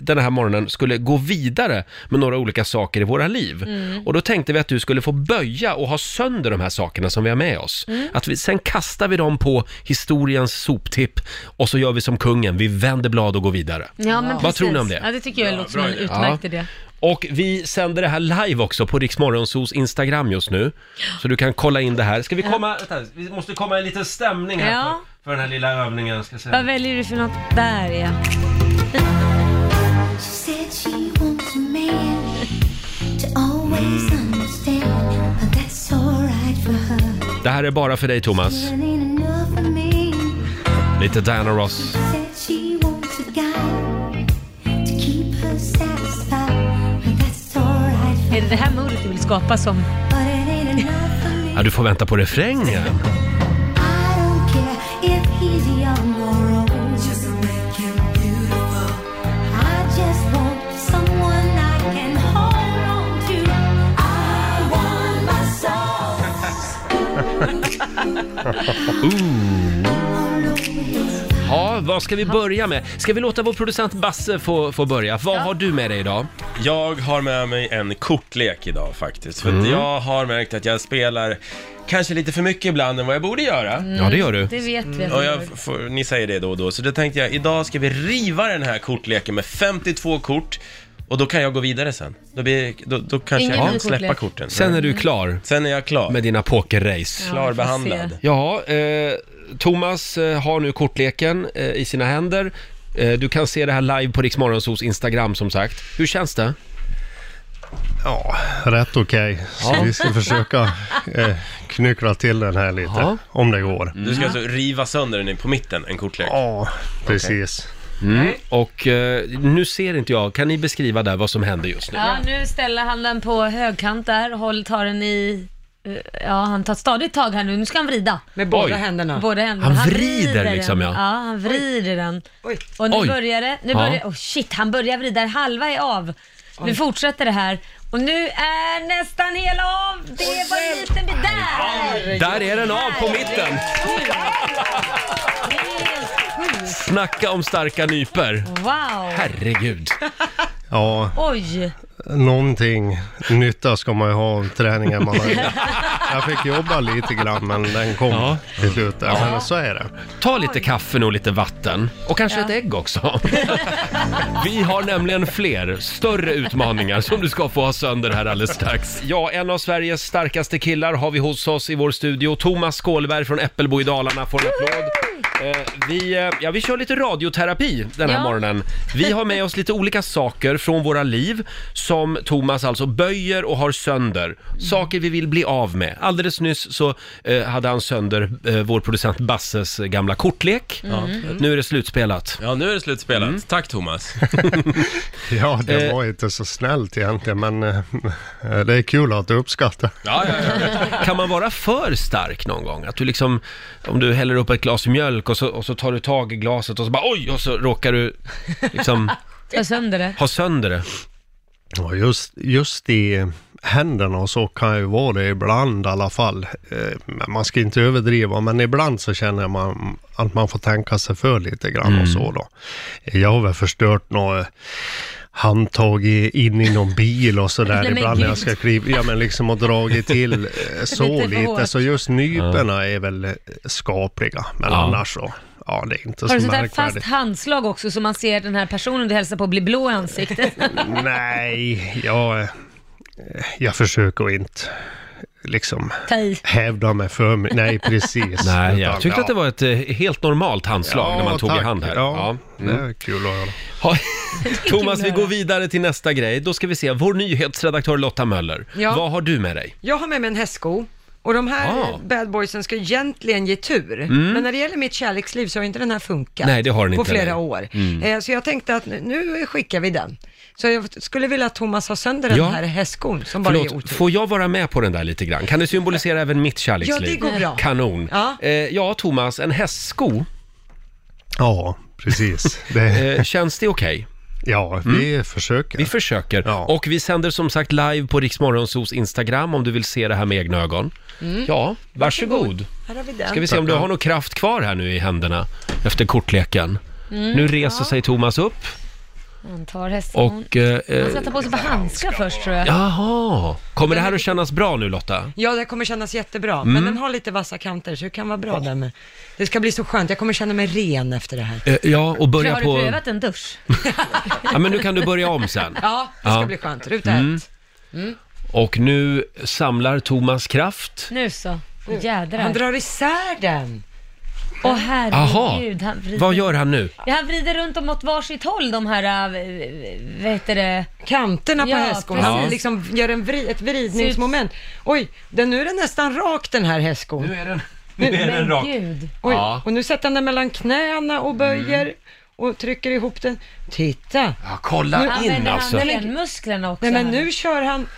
A: den här morgonen skulle gå vidare med några olika saker i våra liv.
L: Mm.
A: Och då tänkte vi att du skulle få böja och ha sönder de här sakerna som vi har med oss.
L: Mm.
A: Att vi, sen kastar vi dem på historiens soptipp och så gör vi som kungen, vi vänder blad och går vidare.
E: Ja, men
A: Vad
E: precis.
A: tror ni om det?
E: Ja, det tycker jag låter som en
A: idé.
E: utmärkt
A: Ja.
E: idé.
A: Och vi sänder det här live också på Riksmorgonsos Instagram just nu. Så du kan kolla in det här. Ska vi komma... Vänta, vi måste komma i en liten stämning här
E: Ja.
A: för, för den här lilla övningen. Ska jag säga.
E: Vad väljer du för något? Där
A: [LAUGHS]
E: ja.
A: Det här är bara för dig Thomas. Lite Diana Ross.
E: Är det det här modet du vill skapa som...
A: Ja, du får vänta på refrängen.
C: [LAUGHS]
A: Ooh. Ja, vad ska vi börja med? Ska vi låta vår producent Basse få, få börja? Vad har du med dig idag?
F: Jag har med mig en kortlek idag faktiskt. För att
A: Mm.
F: jag har märkt att jag spelar kanske lite för mycket ibland än vad jag borde göra. Mm.
A: Ja, det gör du.
E: Mm, Det vet vi att
F: Och
E: du
F: jag
E: gör.
F: får, ni säger det då och då, så då tänkte jag idag ska vi riva den här kortleken med 52 kort och då kan jag gå vidare sen. Då, blir, då, då kanske
A: Ingen
F: jag
A: ny
F: kan släppa
A: kortlek.
F: korten.
A: Sen är du klar.
F: Sen är jag klar.
A: Med dina pokerrace.
F: Ja, Klarbehandlad. vi
A: Ja, eh, Thomas eh, har nu kortleken eh, i sina händer. Eh, du kan se det här live på Riksmorgonsos Instagram som sagt. Hur känns det?
K: Ja, rätt okej. Så
F: Ja.
K: vi ska försöka eh, knyckla till den här lite,
F: Ja.
K: om det går.
F: Du ska alltså riva sönder den på mitten, en kortlek?
K: Ja, precis.
A: Mm. Och eh, nu ser inte jag, kan ni beskriva där vad som händer just nu?
C: Ja, nu ställer han den på högkant där, håll, tar den i... eh, Ja, han tar ett stadigt tag här nu. Nu ska han vrida.
B: Med
A: båda Oj. händerna.
C: Båda händerna.
A: Han vrider liksom,
C: den.
A: ja.
C: Ja, han vrider den. Och nu
A: Oj.
C: börjar det... Nu
A: Ja.
C: börjar, oh shit, han börjar vrida. Halva är av. Nu fortsätter det här. Och nu är nästan hela av. Det var en liten bit där!
A: Där är den av på mitten! Snacka om starka nyper.
C: Wow!
A: Herregud.
K: Ja,
C: Oj!
K: någonting nytta ska man ju ha av
C: [LAUGHS]
K: träningen man har gjort. Jag fick jobba lite grann, men den kom till slut. Ja, Men så är det.
A: Ta lite kaffe och lite vatten. Och kanske ett ägg också. Vi har nämligen fler större utmaningar som du ska få ha sönder här alldeles strax. Ja, en av Sveriges starkaste killar har vi hos oss i vår studio. Thomas Skålberg från Äppelbo i Dalarna får en applåd. Eh, Vi, eh, ja, vi kör lite radioterapi den här
C: Ja.
A: morgonen. Vi har med oss lite olika saker från våra liv som Thomas alltså böjer och har sönder. Saker vi vill bli av med. Alldeles nyss så eh, hade han sönder eh, vår producent Basses gamla kortlek.
F: Ja.
A: Nu är det slutspelat. Mm.
F: Ja, nu är det slutspelat. Tack Thomas.
A: [LAUGHS]
K: Ja,
F: Eh.
A: Eh,
K: det var inte så snällt egentligen, men eh, det är kul att du uppskattar.
F: Ja, ja, ja.
A: Kan man vara för stark någon gång? Att du liksom, om du häller upp ett glas mjölk och så, och så tar du tag i glaset och så bara oj, och så råkar du [LAUGHS] liksom
C: Jag sönder det.
A: ha sönder det.
K: Ja, just, just i händerna och så kan ju vara det ibland i alla fall. Eh, men Man ska inte överdriva, men ibland så känner man att man får tänka sig för lite grann
A: Mm.
K: och så då. Jag har väl förstört något eh, handtag i, in i någon bil och
C: Nej,
K: sådär
C: men
K: ibland när jag
C: gud.
K: ska kliva, ja men liksom och
C: [LAUGHS]
K: dragit till eh, så
C: Lite för
K: lite,
C: hårt.
K: så just nyporna är väl eh, skapliga, men
A: Ja.
K: annars så, ja det är inte
C: Har du
K: så
C: sånt där fast
K: märkvärdigt.
C: handslag också så man ser den här personen du hälsar på bli blå i ansiktet?
A: [LAUGHS]
K: Nej, jag, eh, jag försöker att inte liksom
C: Ta i.
K: hävda mig för mig. Nej, precis.
A: Nej,
K: Utan,
A: jag tyckte att det var ett eh, helt normalt handslag när man tog i
K: tack.
A: hand här.
K: Ja,
A: Ja. Mm.
K: det är kul att höra.
A: Ha- [LAUGHS] [LAUGHS] Thomas, vi går vidare till nästa grej. Då ska vi se, vår nyhetsredaktör Lotta Möller,
B: Ja.
A: vad har du med dig?
B: Jag har med mig en hästsko. Och de här
A: Ah. Mm.
B: bad boysen ska egentligen ge tur. Men när det gäller mitt kärleksliv så har inte den här funkat
A: Nej, det har den
B: på
A: inte,
B: flera
A: nej.
B: år.
A: Mm.
B: Eh, så jag tänkte att nu- nu skickar vi den. Så jag skulle vilja att Thomas har sönder
A: Ja.
B: den här hästskon som bara är
A: Förlåt,
B: otur.
A: får jag vara med på den där lite grann? Kan det symbolisera även mitt
B: Ja,
A: kärleksliv?
B: det går bra.
A: Kanon.
B: Ja.
A: Eh, ja, Thomas, en hästsko,
K: Ja, precis.
A: [LAUGHS]
K: Det,
A: eh, känns det okej? Mm.
K: ja, vi försöker.
A: Vi försöker.
K: Ja.
A: Och vi sänder som sagt live på Riksmorgonsos Instagram om du vill se det här med egna ögon.
B: Mm.
A: Ja, varsågod.
B: Här har vi den.
A: Ska vi se om du har någon kraft kvar här nu i händerna efter kortleken.
B: Mm,
A: Nu reser sig Thomas upp
E: Han tar hästen.
A: och... Eh, eh,
E: Han ska ta på sig på handskar först tror jag.
A: jaha! Kommer det här att kännas bra nu Lotta?
B: Ja, det kommer kännas jättebra.
A: Mm.
B: Men den har lite vassa kanter så det kan vara bra där med. Det ska bli så skönt. Jag kommer känna mig ren efter det här.
A: Eh, ja, och börja
E: Har du
A: på...
E: prövat en dusch?
A: [LAUGHS] Ja, men nu kan du börja om sen.
B: Ja, det ska
A: Ja. Mm.
B: bli skönt. Ruta ett. Mm.
A: Och nu samlar Thomas kraft.
E: Nu så. Åh,
B: Han
E: Jädrar.
B: drar isär den.
E: Åh
A: Aha.
E: herregud. Han vrider.
A: Vad gör han nu?
E: Ja, han vrider runt dem åt varsitt håll de här, äh, vad heter det?
B: Kanterna på
E: Ja,
B: hästskon.
A: precis.
B: Han liksom gör en vri, ett vridningsmoment. Oj, den, nu är den nästan rak den här hästskon.
A: är den, nu är
E: Men Gud.
B: Oj,
A: Ja. Mm.
B: och nu sätter han den mellan knäna och böjer och trycker ihop den. Titta!
A: Ja, kolla in
E: Använder
A: alltså.
E: han benmusklerna också?
B: Nej men
E: här?
B: nu kör han...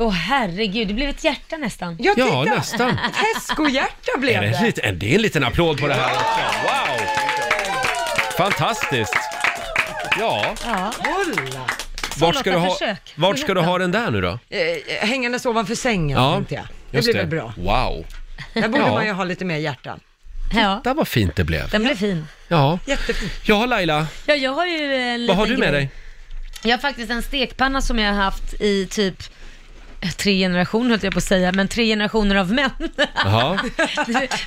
E: Åh herregud, det blev ett hjärta nästan.
B: Ja, titta!
A: Ja, nästan.
B: Ett hästskohjärta
A: Är
B: blev
A: det,
B: det.
A: en liten, det är en liten applåd på det här också. Wow! Fantastiskt! Ja,
B: Kolla!
A: vart ska, du
E: Lotta,
A: ha,
E: försök.
A: vart ska du ha den där nu då?
B: Eh, hängandes ovanför sängen
A: Ja,
B: tänkte jag. Det
A: Just
B: blir väl bra.
A: Wow!
B: Där borde
A: Ja.
B: man ju ha lite mer hjärtan.
E: Ja,
A: Där vad fint det blev.
E: den blev fin.
A: Ja,
B: Jättefint.
A: ja Laila,
E: Ja, jag har ju eh, en
A: vad har
E: liten
A: du med
E: grej.
A: dig?
E: Jag har faktiskt en stekpanna som jag har haft i typ tre generationer höll jag på att säga, men tre generationer av män. [LAUGHS]
A: Jaha,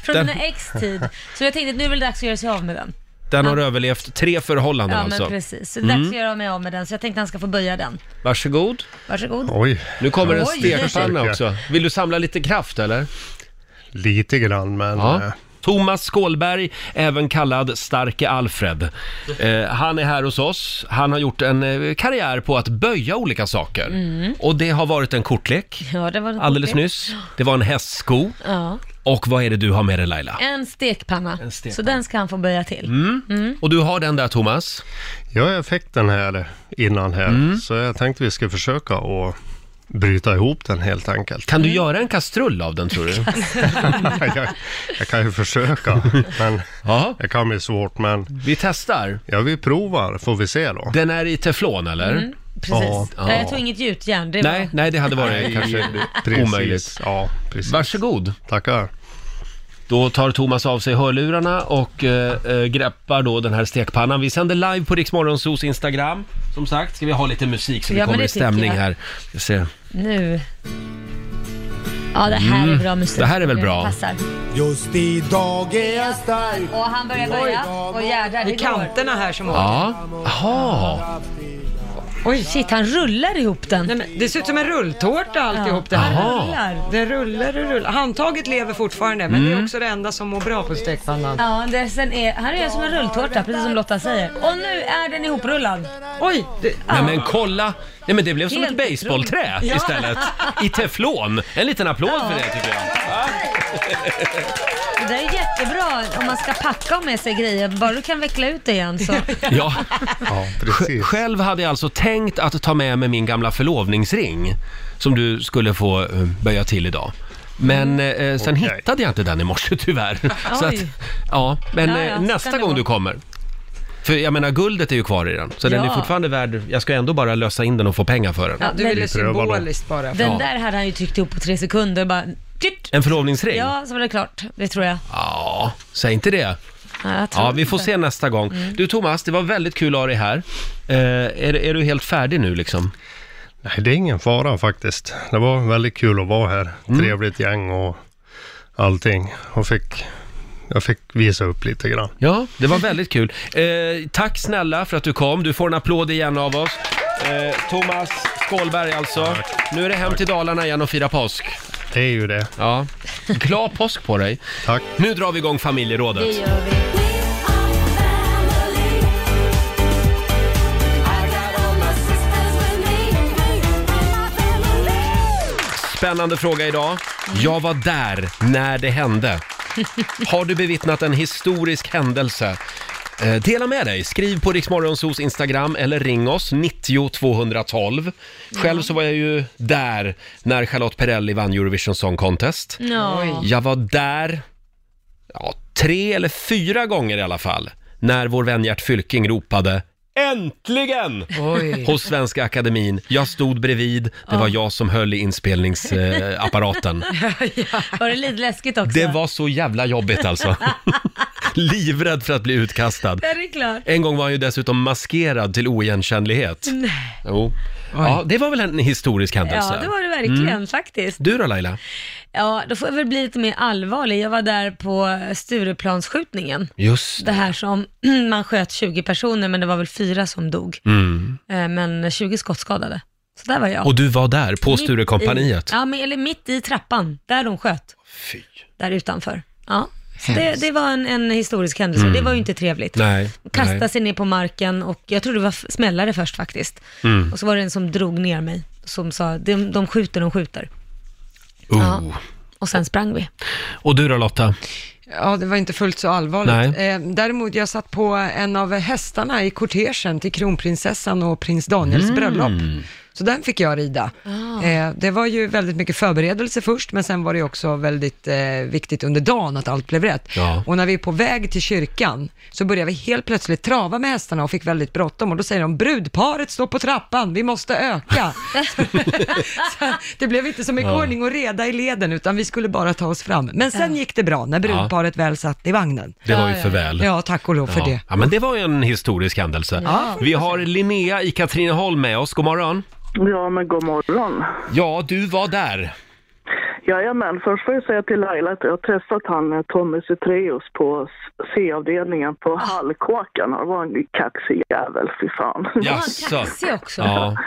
E: Från
A: Den-
E: mina ex tid. Så jag tänkte att nu är väl dags att göra sig av med den.
A: den har överlevt tre förhållanden
E: Ja men
A: alltså.
E: precis, så det är dags att göra mig av med den. Så jag tänkte att han ska få böja den.
A: Varsågod.
E: Varsågod.
K: Oj,
A: Nu kommer en
E: Oj.
A: stekpanna också. Vill du samla lite kraft eller?
K: lite grann, men
A: Ja.
K: eh,
A: Thomas Skålberg, även kallad Starke Alfred. Eh, han är här hos oss. Han har gjort en eh, karriär på att böja olika saker.
C: Mm.
A: Och det har varit en kortlek
C: Ja, det var
A: alldeles
C: okej.
A: nyss. Det var en hästsko.
C: Ja.
A: Och vad är det du har med dig Laila?
C: En stekpanna.
A: En stekpanna.
C: Så den ska han få böja till.
A: Mm.
C: Mm.
A: Och du har den där Thomas? Mm.
K: Ja, jag fick den här innan här, så jag tänkte vi ska försöka att bryta ihop den helt enkelt.
A: Kan du
C: Mm.
A: göra en kastrull av den tror
C: [LAUGHS]
A: du?
K: [LAUGHS] jag, jag kan ju försöka, men det kan bli svårt. Men...
A: Vi testar.
K: Ja, vi provar, får vi se då.
A: Den är i teflon eller?
C: Mm, precis. Nej, Jag tog inget gjutjärn. Det
A: Nej,
C: var...
A: nej, det hade varit
K: Nej,
A: kanske
K: precis.
A: omöjligt.
K: Ja, precis.
A: Varsågod.
K: Tackar.
A: Då tar Thomas av sig hörlurarna och eh, eh, greppar då den här stekpannan. Vi sänder live på Riksmorgonsos Instagram. Som sagt, ska vi ha lite musik så vi
C: Ja, men
A: kommer
C: det
A: i stämning
C: tycker jag.
A: här. Vi ser.
C: Nu. Ja, det här
A: Mm.
C: är bra musik.
A: Det här är väl bra.
C: Passar.
L: Just idag är jag stark
C: Och han börjar böja. Och jädrar,
B: I
C: det går.
B: kanterna här som
A: Ja, jaha.
C: Oj, shit, han rullar ihop den.
B: Nej, men det ser ut som en rulltårta alltihop det här.
C: Jaha. Rullar.
B: Det rullar och rullar. Handtaget lever fortfarande, men
A: Mm.
B: det är också det enda som mår bra på stekpannan.
C: Ja, det sen är, här är jag som en rulltårta, precis som Lotta säger. Och nu är den ihoprullad.
B: Oj!
A: Nej men kolla! Nej men det blev som
C: Helt
A: ett baseballträ
C: otroligt. Ja.
A: istället. I teflon. En liten applåd för det tycker jag.
C: Det där är jättebra om man ska packa och med sig grejer. Bara du kan veckla ut det igen så.
A: [LAUGHS] Ja. Sj- Själv hade jag alltså tänkt att ta med mig min gamla förlovningsring som du skulle få eh, böja till idag. Men eh, sen hittade jag inte den i morse [LAUGHS] tyvärr. Så att,
C: Oj.
A: ja, men
C: Ja,
A: eh,
C: ja, så
A: nästa
C: kan det
A: gång
C: vara.
A: du kommer. För jag menar guldet är ju kvar i den, så den är
C: Ja.
A: fortfarande värd, jag ska ändå bara lösa in den och få pengar för den.
C: Ja, du ville
A: Vi prövar då.
B: symboliskt bara.
C: Den
A: Ja.
C: där hade han ju tryckt ihop på tre sekunder. Bara, dyrt.
A: En förlovningsring?
C: Ja, så var det klart. Det tror jag.
A: Ja, säg inte det.
C: Ja, jag tror
A: Ja, vi får
C: inte.
A: se nästa gång.
C: Mm.
A: Du Thomas, det var väldigt kul att ha dig här. Eh, är, är du helt färdig nu liksom?
K: Nej, det är ingen fara faktiskt. Det var väldigt kul att vara här.
A: Mm.
K: Trevligt gäng och allting. Och fick, jag fick visa upp lite grann.
A: Ja, det var väldigt kul. Eh, tack snälla för att du kom. Du får en applåd igen av oss. Eh, Thomas Skålberg alltså. Nu är det hem till Dalarna igen och fira påsk.
K: Det är ju det.
A: Ja. Glad påsk på dig.
K: Tack.
A: Nu drar vi igång familjerådet.
E: Det gör vi.
A: Spännande fråga idag. Jag var där när det hände. Har du bevittnat en historisk händelse? Eh, Dela med dig. Skriv på Riksmorgonsos Instagram eller ring oss, 90 212. Själv så var jag ju där när Charlotte Perrelli vann Eurovision Song Contest.
C: Ja. Oj.
A: Jag var där ja, tre eller fyra gånger i alla fall när vår vän Gert Fylking ropade Äntligen!
B: Oj.
A: Hos Svenska Akademin. Jag stod bredvid, det var
C: Ja.
A: jag som höll i
C: [LAUGHS]
A: inspelningsapparaten.
C: Var det lite läskigt också?
A: eh, Det var så jävla jobbigt alltså. Livrädd för att bli utkastad.
C: [LAUGHS] Ja, det är
A: [LAUGHS]
C: klart.
A: En gång var han ju dessutom maskerad till oigenkännlighet.
C: Nej.
A: Jo. Ja, det var väl en historisk händelse?
C: Ja, det var det verkligen
A: Mm.
C: faktiskt.
A: Du då Laila?
C: Ja, då får jag väl bli lite mer allvarlig. Jag var där på Stureplansskjutningen.
A: Just
C: Det här som, [CLEARS THROAT] man sköt 20 personer men det var väl fyra som dog.
A: Mm.
C: Eh, Men 20 skottskadade. Så där var jag.
A: Och du var där, på
C: Mitt
A: Sturecompagniet?
C: i- Ja, men, eller mitt i trappan, där de sköt.
A: Fy.
C: Där utanför. Ja. Så det, det var en, en historisk händelse,
A: Mm.
C: det var ju inte trevligt.
A: Nej.
C: Kasta
A: nej.
C: sig ner på marken och jag tror det var f- smällare först faktiskt.
A: Mm.
C: Och så var det en som drog ner mig, som sa, de, de skjuter, de skjuter.
A: Oh.
C: Och sen sprang vi.
A: Och du då Lotta?
B: Ja, det var inte fullt så allvarligt.
A: Nej.
B: Eh, däremot, jag satt på en av hästarna i kortegen till kronprinsessan och prins Daniels
M: Mm.
B: bröllop. Så den fick jag rida.
M: Ah.
B: Eh, det var ju väldigt mycket förberedelse först, men sen var det ju också väldigt eh, viktigt under dagen att allt blev rätt.
M: Ja.
B: Och när vi är på väg till kyrkan så började vi helt plötsligt trava med hästarna och fick väldigt bråttom och då säger de brudparet står på trappan, vi måste
C: [LAUGHS]
B: öka. så det blev inte så mycket
M: Ja.
B: ordning och reda i leden utan vi skulle bara ta oss fram. Men sen gick det bra när brudparet väl satt i vagnen.
A: Det var ju för väl.
B: Ja, tack och lov för
A: ja.
B: det.
A: Ja, men det var ju en historisk händelse.
B: Ja.
A: Vi har Linnea i Katrineholm med oss. God morgon.
N: Ja, men god morgon.
A: Ja, du var där.
N: Jajamän, först får jag säga till Laila att jag har träffat han eh, Tommy Zethraeus på s- C-avdelningen på Hallkåkan. Han var en kaxig jävel, fy fan.
A: Jaså.
C: kaxig också.
A: Ja.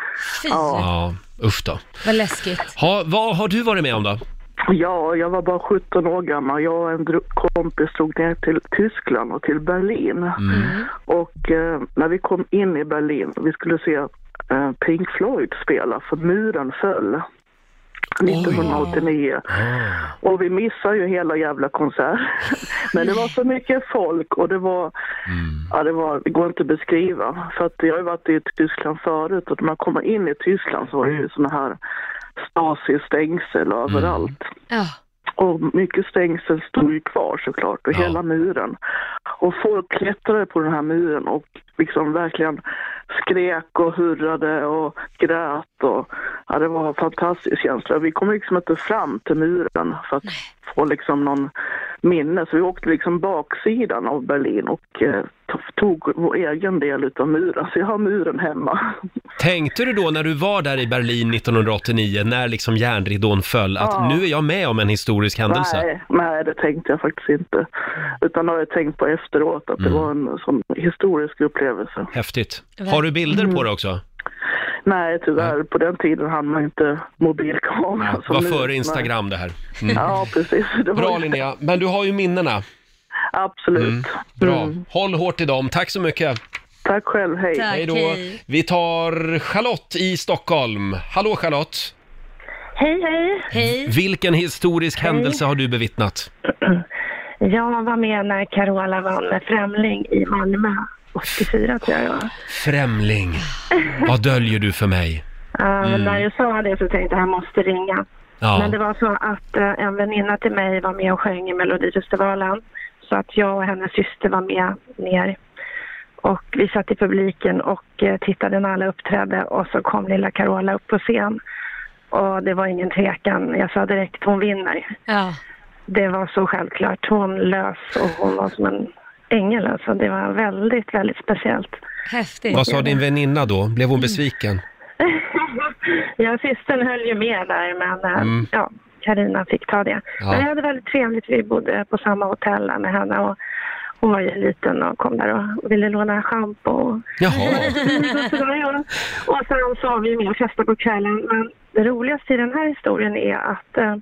C: Fy,
A: ja. Usch då.
C: vad läskigt.
A: Ha, vad har du varit med om då?
N: Ja, jag var bara 17 år gammal. Jag och en dro- kompis drog ner till Tyskland och till Berlin. Och eh, när vi kom in i Berlin, vi skulle se eh, Pink Floyd spela, för muren föll. 1989. Och vi missade ju hela jävla konsert. [LAUGHS] Men det var så mycket folk och det var, ja det var, det går inte att beskriva. För att jag har ju varit i Tyskland förut och när man kommer in i Tyskland så var det ju såna här Stasi-stängsel överallt.
E: Ja.
N: Och mycket stängsel stod ju kvar såklart, och hela muren. Och folk klättrade på den här muren och liksom verkligen skrek och hurrade och grät. Och, ja, det var en fantastisk känsla. Vi kom liksom inte fram till muren för att få liksom någon minne. Så vi åkte liksom baksidan av Berlin och eh, to- tog vår egen del av muren. Så jag har muren hemma.
A: Tänkte du då när du var där i Berlin 1989, när liksom järnridån föll, att
N: Ja.
A: nu är jag med om en historisk händelse?
N: Nej, nej, det tänkte jag faktiskt inte. Utan det har jag tänkt på efteråt, att
A: Mm.
N: det var en sån historisk upplevelse.
A: Häftigt. Har du bilder
N: Mm.
A: på det också?
N: Nej, tyvärr. På den tiden hann man inte mobilkamera.
A: Det
N: som
A: var
N: nu.
A: före
N: Nej.
A: Instagram det här.
N: [LAUGHS] Ja, precis. Det var
A: Bra
N: ju-
A: Linnea, men du har ju minnena. Mm.
N: Absolut.
A: Bra. Håll hårt i dem. Tack så mycket.
N: Tack själv. Hej.
M: Tack,
A: hej då.
M: hej.
A: Vi tar Charlotte i Stockholm. Hallå Charlotte!
M: Hej, hej.
A: Vilken historisk
M: Hej.
A: händelse har du bevittnat?
M: Jag var med när Carola vann med Främling i Malmö. 84 tror jag det var.
A: Främling, vad döljer du för mig?
M: Eh,
A: Mm.
M: När jag sa det så tänkte jag jag måste ringa.
A: Ja.
M: Men det var så att eh, en väninna till mig var med och sjöng i Melodifestivalen. Så att jag och hennes syster var med ner. Och vi satt i publiken och eh, tittade när alla uppträdde och så kom lilla Carola upp på scen. Och det var ingen tvekan. Jag sa direkt hon vinner.
C: Ja.
M: Det var så självklart. Hon lös och hon var som en ängel alltså. Det var väldigt, väldigt speciellt.
C: Häftigt.
A: Vad sa din väninna då? Blev
M: Mm.
A: hon besviken?
M: [LAUGHS] Ja, systern höll ju med där, men eh,
A: Mm.
M: ja, Karina fick ta det.
A: Ja.
M: Men vi hade väldigt trevligt. Vi bodde på samma hotell där med henne och hon var ju liten och kom där och ville låna schampo och
A: Jaha.
M: och sådär, ja. [LAUGHS] Och sen så har vi med och festade på kvällen. Men det roligaste i den här historien är att eh,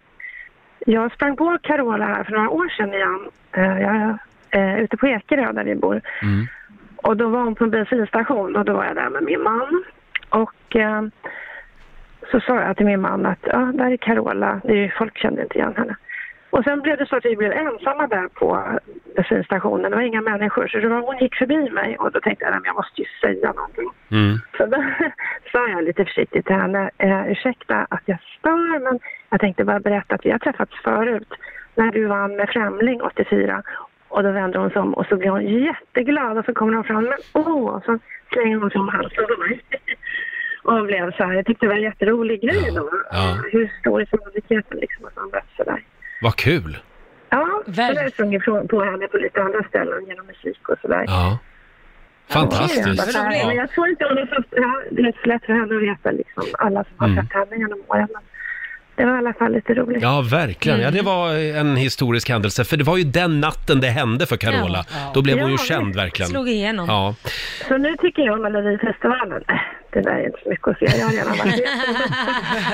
M: jag sprang på Carola här för några år sedan igen. Eh, jag, eh, ute på Ekerö där vi bor.
A: Mm.
M: Och då var hon på en bensinstation och då var jag där med min man. Och eh, så sa jag till min man att ja, där är Carola. Det är ju, folk kände inte igen henne. Och sen blev det så att vi blev ensamma där på bensinstationen. Det var inga människor. Så det var, hon gick förbi mig och då tänkte jag "Nej, men jag måste ju säga någonting.
A: Mm.
M: Så då [LAUGHS] sa jag lite försiktigt till henne, eh, ursäkta att jag stör men jag tänkte bara berätta att vi har träffats förut när du vann med Främling 84 och då vänder hon sig om och så blir hon jätteglad och så kommer hon fram, men åh, och så slänger hon sig om halsen på mig. [LAUGHS] Och blev så här, jag tyckte det var en jätterolig grej då.
A: Ja.
M: Hur stor är sannolikheten liksom att man blev sådär?
A: Vad kul!
M: Ja, så där sjunger på, på henne på lite andra ställen genom musik och sådär.
A: Ja. Fantastiskt.
M: Ja, men jag tror inte hon har fått, ja, det är så lätt för henne att veta liksom, alla som har
A: Mm.
M: sett henne genom åren. Men det var i alla fall lite roligt.
A: Ja, verkligen. Ja,
M: Mm.
A: det var en historisk händelse. För det var ju den natten det hände för Carola.
M: Ja.
A: Då blev hon ju
M: Ja,
A: känd
M: det
A: verkligen.
M: slog igenom.
A: Ja.
M: Så nu tycker jag om Melodifestivalen, äh, det där är inte så mycket att säga. Jag har redan [LAUGHS] varit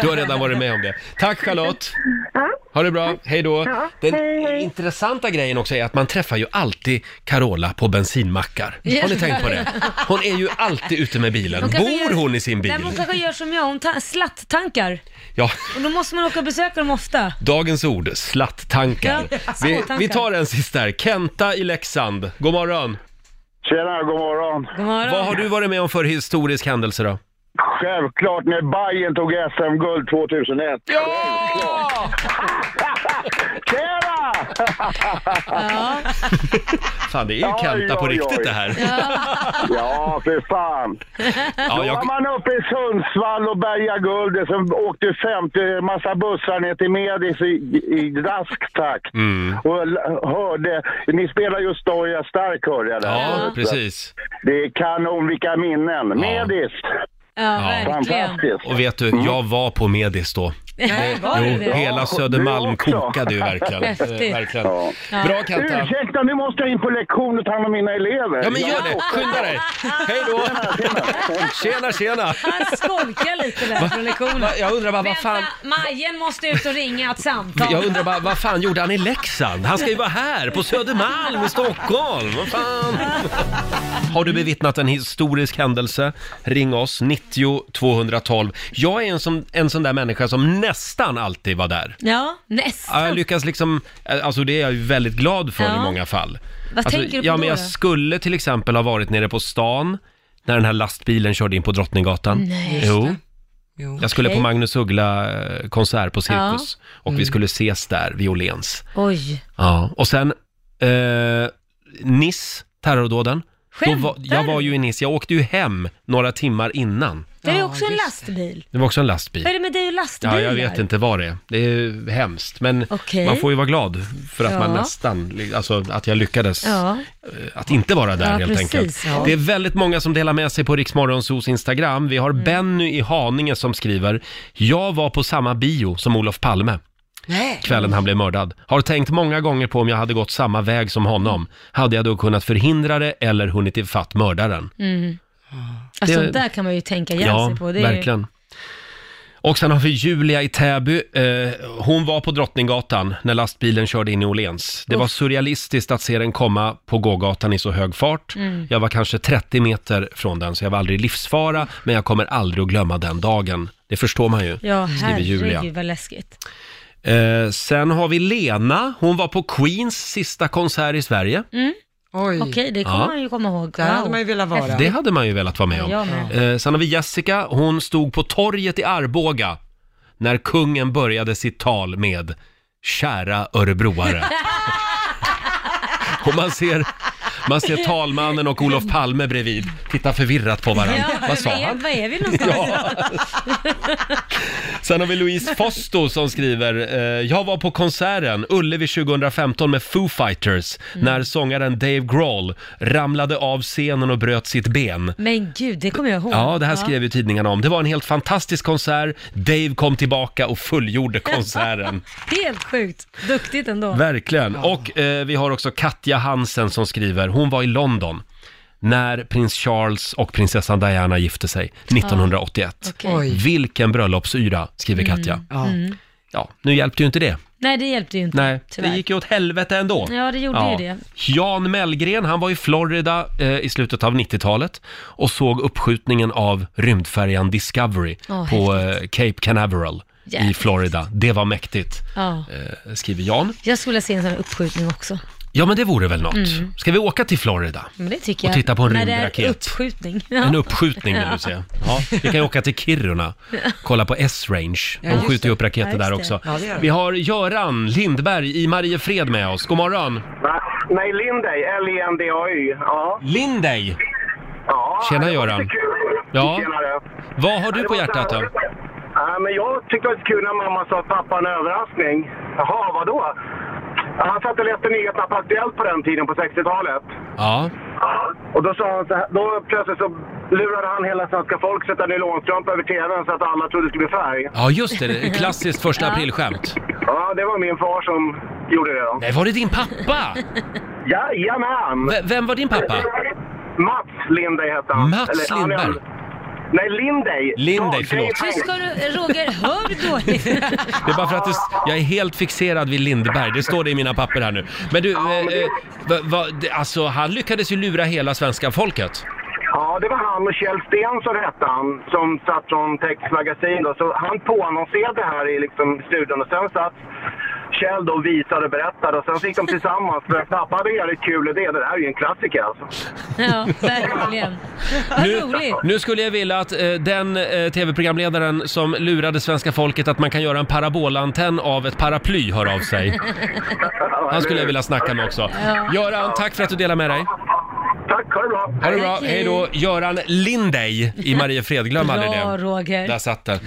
A: Du har redan varit med om det. Tack Charlotte!
M: Ja.
A: Ha det bra, hej då!
M: Ja,
A: Den
M: hej, hej.
A: intressanta grejen också är att man träffar ju alltid Carola på bensinmackar. Har ni tänkt på det? Hon är ju alltid ute med bilen.
C: Hon kanske
A: Bor
C: gör-
A: hon i sin
C: Nej, men hon
A: bil?
C: kanske gör som jag, hon ta- slatt-tankar.
A: Ja,
C: Och då måste man åka och besöka dem ofta.
A: dagens ord, slatt-tankar.
C: Ja,
A: Vi,
C: slatt-tankar.
A: vi tar en sista här. Kenta i Leksand, god morgon.
O: Tjena, god morgon.
A: Vad har du varit med om för historisk händelse då?
O: Självklart när Bayern tog SM-guld 2001. Ja! Tjena!
A: Fan, det är ju
O: Oj,
A: Kenta på
O: oj,
A: riktigt
O: oj.
A: det här.
P: [LAUGHS]
O: Ja, för fan. Då
A: jag-
O: var man uppe i Sundsvall och bärgade guldet. Sen åkte 50 massa bussar ner till Medis i, i rask takt.
A: Mm.
O: Och l- hörde, ni spelar ju Stoja Stark hörde jag där.
A: Ja, precis.
O: Det är kanon, vilka minnen. Medis!
C: Ja, verkligen.
O: Fantastiskt.
A: Och vet du, jag var på Medis då.
C: Nej, var det
A: Jo,
C: det?
A: hela Södermalm
O: också.
A: kokade ju verkligen.
C: [LAUGHS] Häftigt.
A: Eh, verkligen.
C: Ja.
A: Bra Katta!
O: Ursäkta, nu måste jag in på lektion och ta hand om mina elever.
A: Ja men gör det, skynda dig! Hej då! Tjena tjena!
C: Han skolkar lite där
A: Va?
C: från lektionen.
A: Va? Jag undrar bara, vad fan-
C: Majen måste ut och ringa ett samtal.
A: Jag undrar bara, vad fan gjorde han i Leksand? Han ska ju vara här på Södermalm i Stockholm! Vad fan? Har du bevittnat en historisk händelse? Ring oss, 90 212. Jag är en sån, en sån där människa som nästan alltid var där.
C: Ja,
A: Ja, Jag
C: nästan.
A: lyckas liksom, alltså det är jag ju väldigt glad för i
C: Ja.
A: många fall.
C: Vad
A: alltså,
C: tänker du på
A: Ja
C: då,
A: men jag
C: då?
A: skulle till exempel ha varit nere på stan när den här lastbilen körde in på Drottninggatan.
C: Nej. Just
A: Jo. Jag skulle på
C: Okej.
A: Magnus Uggla-konsert på Cirkus
C: Ja.
A: och vi
C: Mm.
A: skulle ses där vid Åhléns.
C: Oj.
A: Ja, och sen eh, Niss, terrordåden. Då var, jag var ju i Niss, jag åkte ju hem några timmar innan.
C: Det är ju också en lastbil.
A: Det var också en lastbil.
C: Vad är det med dig och lastbilar?
A: Ja, jag vet inte vad det är. Det är hemskt, men
C: Okej.
A: man får ju vara glad för att man
C: Ja.
A: nästan, alltså att jag lyckades
C: Ja.
A: eh, att inte vara där
C: Ja,
A: helt
C: precis,
A: enkelt.
C: ja.
A: Det är väldigt många som delar med sig på Riksmorgonsos Instagram. Vi har
C: Mm.
A: Benny i Haninge som skriver, jag var på samma bio som Olof Palme. Kvällen han blev mördad. Har tänkt många gånger på om jag hade gått samma väg som honom. Hade jag då kunnat förhindra det eller hunnit ifatt mördaren?
C: Mm. Alltså
A: Det-
C: där kan man ju tänka ihjäl sig på. Det är
A: verkligen. Och sen har vi Julia i Täby. Eh, hon var på Drottninggatan när lastbilen körde in i Åhléns. Det var surrealistiskt att se den komma på gågatan i så hög fart.
F: Mm.
A: Jag var kanske 30 meter från den, så jag var aldrig i livsfara, men jag kommer aldrig att glömma den dagen. Det förstår man ju,
C: Ju... Ja,
A: skriver Julia.
C: herregud vad läskigt.
A: Eh, sen har vi Lena. Hon var på Queens sista konsert i Sverige.
C: Mm.
B: Oj.
C: Okej, det kommer
A: Ja.
C: man ju komma ihåg.
B: Där hade man ju velat vara.
A: Det hade man ju velat vara med om.
C: Ja, jag
A: Eh, sen har vi Jessica, hon stod på torget i Arboga när kungen började sitt tal med Kära
C: [LAUGHS]
A: örebroare. och man ser, man ser talmannen och Olof Palme bredvid titta förvirrat på varandra. Vad sa
C: är,
A: han?
C: Vad är vi någonstans?
A: Sen har vi Louise Fosto som skriver, eh, jag var på konserten Ullevi 2015 med Foo Fighters
C: Mm.
A: när sångaren Dave Grohl ramlade av scenen och bröt sitt ben.
C: Men gud, det kommer jag ihåg.
A: Ja, det här skrev ju tidningarna om. Det var en helt fantastisk konsert. Dave kom tillbaka och
C: [LAUGHS]
A: fullgjorde konserten.
C: Helt sjukt. Duktigt ändå.
A: Verkligen. Och eh, vi har också Katja Hansen som skriver, hon var i London när prins Charles och prinsessan Diana gifte sig 1981.
C: Ja, okej.
A: Vilken bröllopsyra, skriver
C: Mm,
A: Katja.
C: mm.
A: Ja, nu hjälpte ju inte det.
C: Nej, det hjälpte ju inte.
A: Nej,
C: tyvärr.
A: det gick ju åt helvete ändå.
C: Ja, det gjorde ju det.
A: Jan Mellgren, han var i Florida eh, i slutet av 90-talet och såg uppskjutningen av rymdfärjan Discovery
C: Åh,
A: på eh, Cape Canaveral i
C: Jävligt.
A: Florida. Det var mäktigt,
C: Ja.
A: eh, skriver Jan.
C: Jag skulle vilja se en sån här uppskjutning också.
A: Ja, men det vore väl något.
C: Mm.
A: Ska vi åka till Florida?
C: Men Mm, det tycker
A: Och
C: jag.
A: titta på en
C: När det är
A: rymdraket.
C: uppskjutning.
A: En uppskjutning vill
C: Ja.
A: du säga. Ja, vi kan ju åka till Kiruna, kolla på S-Range.
C: Ja,
A: De
C: just
A: skjuter ju
C: det.
A: upp raketer
C: Ja, just
A: där
C: det.
A: också.
C: Ja, det gör de.
A: Vi har Göran Lindberg i Mariefred med oss. God morgon!
P: Va? Nej, E Lindey. L-I-N-D-A-Y. Ja.
A: Lindey!
P: Ja,
A: Tjena,
P: det var
A: Göran.
P: lite kul.
A: Ja.
P: Tjenare.
A: Vad har du
P: Ja, det
A: på
P: var
A: hjärtat
P: så här-
A: då?
P: Ja, men jag tyckte det var lite kul när mamma sa att pappa har en överraskning. Jaha, vadå? Ja, Han satt och läste nyheterna på Aktuellt på den tiden, på 60-talet.
A: Ja.
P: Och då sa han så här, då plötsligt så lurade han hela svenska folket att sätta nylonstrumpa över tvn så att alla trodde det skulle bli färg.
A: Ja, just det. det är ett Klassiskt första aprilskämt.
P: Ja, det var min far som gjorde det då.
A: Nej, var det din
P: [LAUGHS]
A: pappa?
P: Jajamän!
A: V- vem var din pappa?
P: Mats Lindey hette han.
A: Mats
P: han är-
A: Lindberg.
P: Nej, Lindey.
A: Lindey, förlåt.
C: Hur ska du, Roger, hör du dåligt?
A: Det är bara för att det, jag är helt fixerad vid Lindberg. Det står det i mina papper här nu. Men du, eh, eh, va, va, det- alltså han lyckades ju lura hela svenska folket.
P: Ja, det var han och Kjell Stensson hette han, som satt från Tex Magasin då. Så han påannonserade här i liksom studion och sen satt Kjell då och visade och berättade och sen fick de tillsammans för att pappa hade en jävligt kul idé. Det där är ju en klassiker alltså.
C: Ja,
A: [LAUGHS]
C: verkligen. Vad roligt.
A: nu skulle jag vilja att eh, den eh, tv-programledaren som lurade svenska folket att man kan göra en parabolantenn av ett paraply hör av sig. Han skulle jag vilja snacka med också.
C: Ja.
A: Göran, tack för att du delar med dig.
P: Tack, [LAUGHS] ha det bra.
A: Ha det bra. Hej då, Göran Lindey i Mariefred. Glöm aldrig
C: Bra,
A: det.
C: Roger.
A: Där satt den.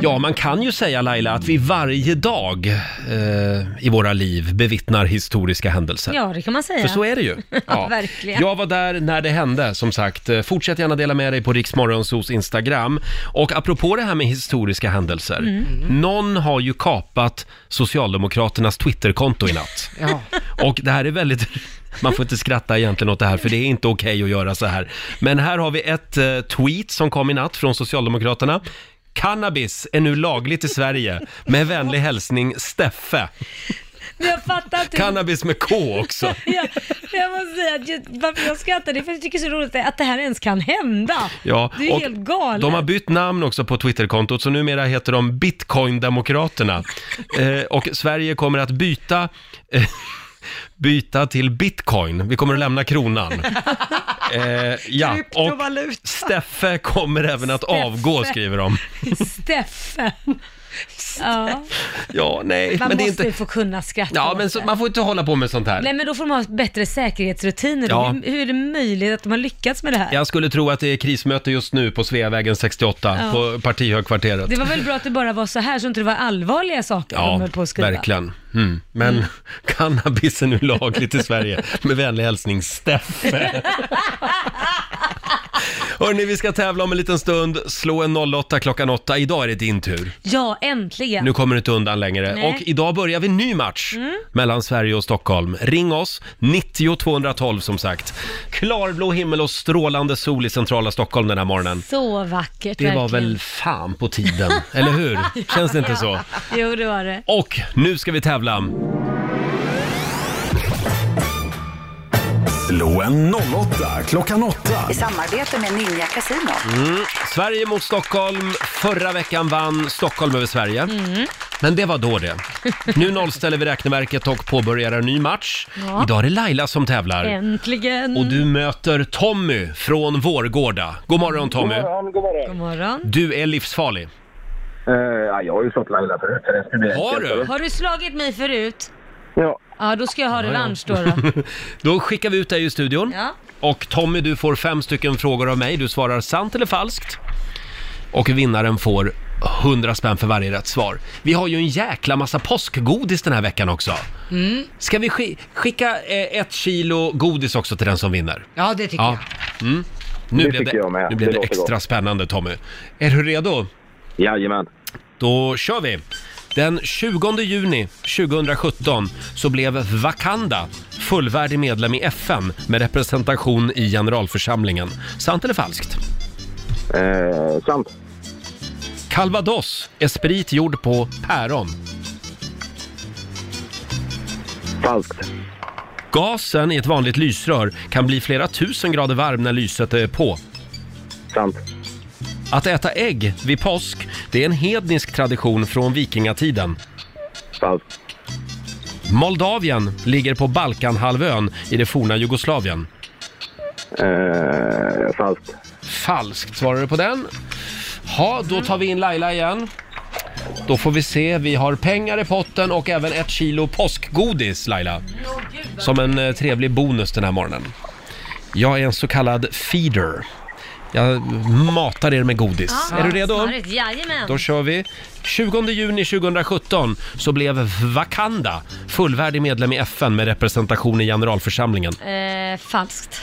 A: Ja, man kan ju säga Laila att vi varje dag eh, i våra liv bevittnar historiska händelser.
C: Ja, det kan man säga.
A: För så är det ju.
C: [LAUGHS] Ja, verkligen.
A: Jag var där när det hände, som sagt. Eh, Fortsätt gärna dela med dig på Riksmorgonsos Instagram. Och apropå det här med historiska händelser.
Q: Mm.
A: Någon har ju kapat Socialdemokraternas Twitterkonto i natt.
B: Ja.
A: Och det här är väldigt... Man får inte skratta egentligen åt det här, för det är inte okej att göra så här. Men här har vi ett eh, tweet som kom i natt från Socialdemokraterna. Cannabis är nu lagligt i Sverige. Med vänlig hälsning Steffe.
C: Men jag fattar inte.
A: Cannabis med K också.
C: Ja, jag måste säga att just, varför jag skrattar, det är för att jag tycker det är så roligt att det här ens kan hända.
A: Ja,
C: det är ju
A: och
C: helt galet.
A: De har bytt namn också på Twitterkontot, så numera heter de Bitcoin-demokraterna. Eh, och Sverige kommer att byta, eh, byta till bitcoin. Vi kommer att lämna
C: [LAUGHS]
A: kronan. Eh, ja, och
B: Kryptovaluta.
A: Steffe kommer även att
C: Steffe.
A: avgå, skriver de.
C: Steffe. Ja.
A: Ja, nej,
C: Man
A: men det är
C: måste ju
A: inte...
C: få kunna skratta
A: Ja,
C: åt
A: men så, man får inte hålla på med sånt här.
C: Nej men då får de ha bättre säkerhetsrutiner.
A: Ja.
C: Hur, hur är det möjligt att de har lyckats med det här?
A: Jag skulle tro att det är krismöte just nu på Sveavägen 68,
C: Ja.
A: på partihögkvarteret.
C: Det var väl bra att det bara var så här så inte det var allvarliga saker de höll på att skriva.
A: verkligen. Mm. Men [LAUGHS] cannabis är nu lagligt i Sverige. Med vänlig hälsning, Steffe. Hörni, vi ska tävla om en liten stund. Slå en 08 klockan 8. Idag är det din tur.
C: [LAUGHS] Ja, äntligen. Mm.
A: Nu kommer du inte undan längre.
C: Nej.
A: Och idag börjar vi en ny match mellan Sverige och Stockholm. Ring oss, 90 212 som sagt. Klarblå himmel och strålande sol i centrala Stockholm den här morgonen.
C: Så vackert
A: Det var
C: verkligen.
A: väl fan på tiden, eller hur? Känns det inte så?
C: [LAUGHS] Jo, det var det.
A: Och nu ska vi tävla.
D: Slå en 08 klockan 8.
I: I samarbete med Ninja Casino.
A: Mm. Sverige mot Stockholm. Förra veckan vann Stockholm över Sverige. Men det var då det. Nu nollställer vi räkneverket och påbörjar en ny match.
C: Ja.
A: Idag är det Laila som tävlar. Mm.
C: Äntligen.
A: Och du möter Tommy från Vårgårda. God morgon Tommy.
C: god morgon. God morgon.
A: Du är livsfarlig.
P: Eh, ja, jag har ju slått Laila förut. så det ska bli
A: Har
P: enkelt.
A: du?
C: Har du slagit mig förut?
P: Ja.
C: Ja, då ska jag ha revansch då. då.
A: [LAUGHS] Då skickar vi ut dig i studion.
C: Ja.
A: Och Tommy, du får fem stycken frågor av mig. Du svarar sant eller falskt. Och vinnaren får 100 spänn för varje rätt svar. Vi har ju en jäkla massa påskgodis den här veckan också.
B: Mm.
A: Ska vi ski- skicka eh, ett kilo godis också till den som vinner?
B: Ja, det tycker jag.
A: Mm. Nu,
B: Det
A: blev
B: tycker
A: det,
B: jag med.
A: nu blev
B: Det
A: det,
B: låter
A: extra spännande Tommy. Är du redo?
P: Jajamän.
A: Då kör vi! Den 20 juni 2017 så blev Wakanda fullvärdig medlem i FN med representation i generalförsamlingen. Sant eller falskt?
P: Eh, sant.
A: Calvados är sprit gjord på päron.
P: Falskt.
A: Gasen i ett vanligt lysrör kan bli flera tusen grader varm när lyset är på.
P: Sant.
A: Att äta ägg vid påsk, det är en hednisk tradition från vikingatiden.
P: Falskt.
A: Moldavien ligger på Balkanhalvön i det forna Jugoslavien.
P: Eh, falskt.
A: Falskt svarar du på den. Ja, då tar vi in Laila igen. Då får vi se, vi har pengar i potten och även ett kilo påskgodis Laila. Som en eh, trevlig bonus den här morgonen. Jag är en så kallad feeder. Jag matar er med godis.
C: Ja,
A: är du redo?
C: Snarigt. Jajamän.
A: Då kör vi. 20 juni 2017 så blev Wakanda fullvärdig medlem i FN med representation i generalförsamlingen.
C: Eh, falskt.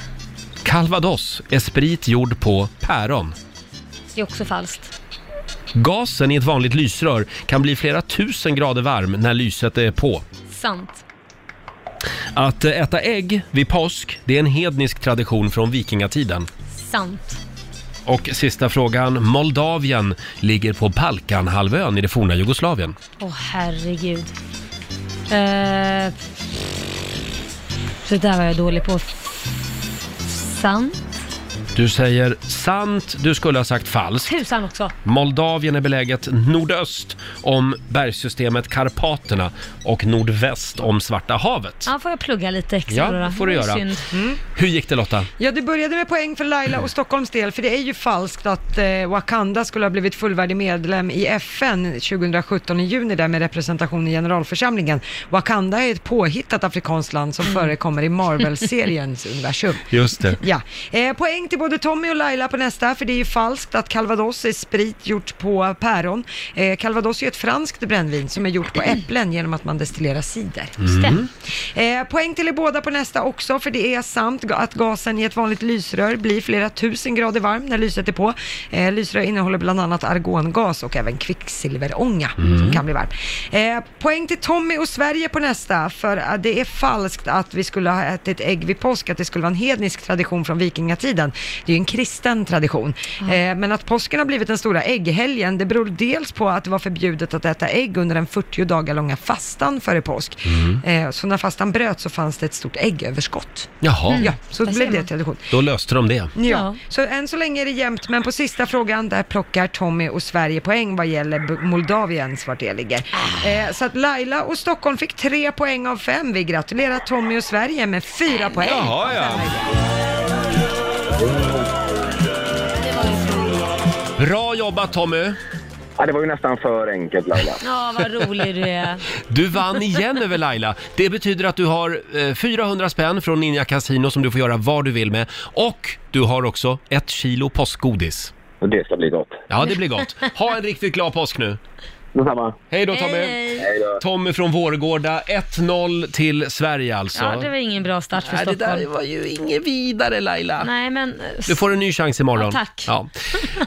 A: Calvados är sprit gjord på päron.
C: Det är också falskt.
A: Gasen i ett vanligt lysrör kan bli flera tusen grader varm när lyset är på.
C: Sant.
A: Att äta ägg vid påsk, det är en hednisk tradition från vikingatiden.
C: Sant.
A: Och sista frågan, Moldavien ligger på Balkanhalvön i det forna Jugoslavien.
C: Åh herregud. Eh, det där var jag dålig på. Sant.
A: Du säger sant, du skulle ha sagt falskt.
C: Tusan också.
A: Moldavien är beläget nordöst om bergssystemet Karpaterna och nordväst om Svarta havet.
C: Ja, får jag plugga lite extra
A: Ja,
C: då då?
A: det får du
C: Det är
A: göra.
C: synd.
B: Mm.
A: Hur gick det Lotta?
B: Ja, det började med poäng för Laila och Stockholms del, för det är ju falskt att eh, Wakanda skulle ha blivit fullvärdig medlem i FN 2017 i juni där med representation i generalförsamlingen. Wakanda är ett påhittat afrikanskt land som förekommer i Marvel-seriens universum.
A: Just det.
B: Ja. Eh, poäng till både Tommy och Laila på nästa, för det är ju falskt att calvados är sprit gjort på päron. Eh, calvados är ju ett franskt brännvin som är gjort på äpplen genom att man destillerar cider.
C: Just det. Mm.
B: Eh, poäng till er båda på nästa också, för det är sant att gasen i ett vanligt lysrör blir flera tusen grader varm när lyset är på. Eh, lysrör innehåller bland annat argongas och även kvicksilverånga som kan bli varm. Eh, poäng till Tommy och Sverige på nästa, för eh, det är falskt att vi skulle ha ätit ägg vid påsk, att det skulle vara en hednisk tradition från vikingatiden. Det är ju en kristen tradition. Eh, men att påsken har blivit den stora ägghelgen, det beror dels på att det var förbjudet att äta ägg under den 40 dagar långa fastan före påsk.
A: Mm.
B: Eh, Så när fastan bröt så fanns det ett stort äggöverskott. Mm.
A: Jaha.
B: Ja, så
A: Där
B: blev
A: ser
B: det
A: man.
B: tradition.
A: Då löste de det.
B: Ja. så än så länge är det jämnt, men på sista frågan där plockar Tommy och Sverige poäng vad gäller B- Moldaviens vart det ligger.
A: Ah.
B: Eh, så att Laila och Stockholm fick tre poäng av fem. Vi gratulerar Tommy och Sverige med fyra poäng.
A: Jaha, ja. Bra jobbat Tommy!
Q: Ja, det var ju nästan för enkelt Laila.
C: Ja, vad rolig du är.
A: [LAUGHS] Du vann igen över Laila. Det betyder att du har eh, 400 spänn från Ninja Casino som du får göra vad du vill med. Och du har också ett kilo påskgodis.
Q: Och det ska bli gott.
A: Ja, det blir gott. Ha en riktigt glad påsk nu.
Q: Detsamma.
A: Hej då Tommy!
C: Hej.
A: Tommy från Vårgårda, 1-0 till Sverige alltså.
C: Ja, det var ingen bra start för
A: Nej, det där
C: Stockholm.
A: var ju inget vidare Laila.
C: Nej, men... eh,
A: Du får en ny chans imorgon.
C: Ja, tack.
A: Ja.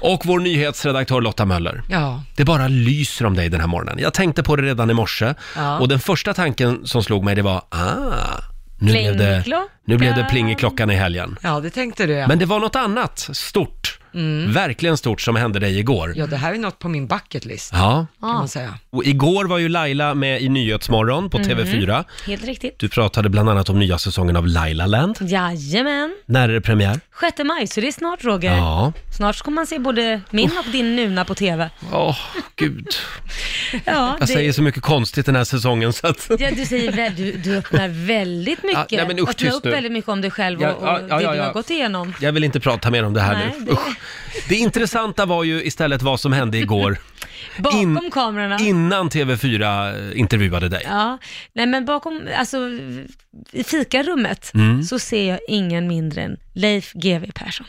A: Och vår nyhetsredaktör Lotta Möller.
B: Ja.
A: Det bara lyser om dig den här morgonen. Jag tänkte på det redan i morse
C: Ja.
A: och den första tanken som slog mig det var ah, nu blev det,
B: Plingklockan.
A: nu blev det pling i klockan i helgen.
B: Ja, det tänkte du ja.
A: Men det var något annat stort,
B: Mm.
A: verkligen stort som hände dig igår.
B: Ja, det här är något på min bucket list,
A: Ja.
B: kan man säga.
A: Och igår var ju Laila med i Nyhetsmorgon på
C: Mm.
A: TV4.
C: Helt riktigt.
A: Du pratade bland annat om nya säsongen av Lailaland.
C: Jajamän.
A: När är det premiär?
C: 6 maj, så det är snart Roger.
A: Ja.
C: Snart kommer man se både min och din nuna på TV.
A: Åh, gud.
C: Ja,
A: Jag säger så mycket konstigt den här säsongen så att...
C: Ja, du säger väl, du, du öppnar väldigt mycket.
A: nej, men usch,
C: öppnar
A: tyst
C: upp
A: nu.
C: väldigt mycket om dig själv och,
A: Ja,
C: och
A: ja, ja,
C: det
A: ja,
C: du
A: ja.
C: har gått igenom.
A: Jag vill inte prata mer om det här
C: Nej,
A: nu.
C: det-
A: Usch. Det intressanta var ju istället vad som hände igår
C: Bakom kamerorna.
A: innan TV4 eh, intervjuade dig.
C: Ja, nej men bakom, alltså i fikarummet
A: Mm.
C: så ser jag ingen mindre än Leif GW Persson.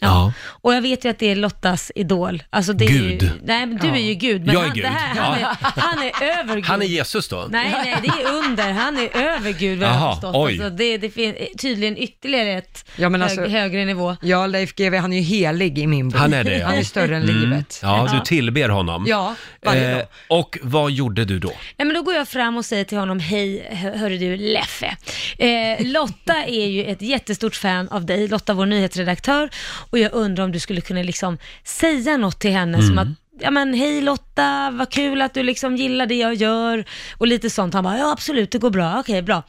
A: Ja.
C: Och jag vet ju att det är Lottas idol. Alltså det Är ju,
A: Gud.
C: nej, men du
A: Ja.
C: är ju Gud, men
A: Jag är
C: han,
A: Gud.
C: Det här, han,
A: Ja.
C: är, han är över Gud.
A: Han är Jesus då?
C: Nej, nej, det är under. Han är över Gud vad jag
A: Jaha,
C: har förstått.
A: oj.
C: Alltså, det, det finns tydligen ytterligare ett
B: Ja, men
C: hög,
B: alltså-
C: högre nivå.
B: Ja, Leif GW, han är ju helig i min bok.
A: Han är det ja.
B: Han är större än
A: Mm.
B: livet.
A: Ja, du tillber honom. Eh,
B: Ja, varje dag.
A: och vad gjorde du då?
C: Nej, men då går jag fram och säger till honom, hej, hör- hörru du Leffe. Eh, Lotta är ju ett jättestort fan av dig, Lotta vår nyhetsredaktör, och jag undrar om du skulle kunna liksom säga något till henne som
E: Mm.
C: att Ja men hej Lotta, vad kul att du liksom gillar det jag gör och lite sånt. Han bara, ja absolut det går bra, okej bra.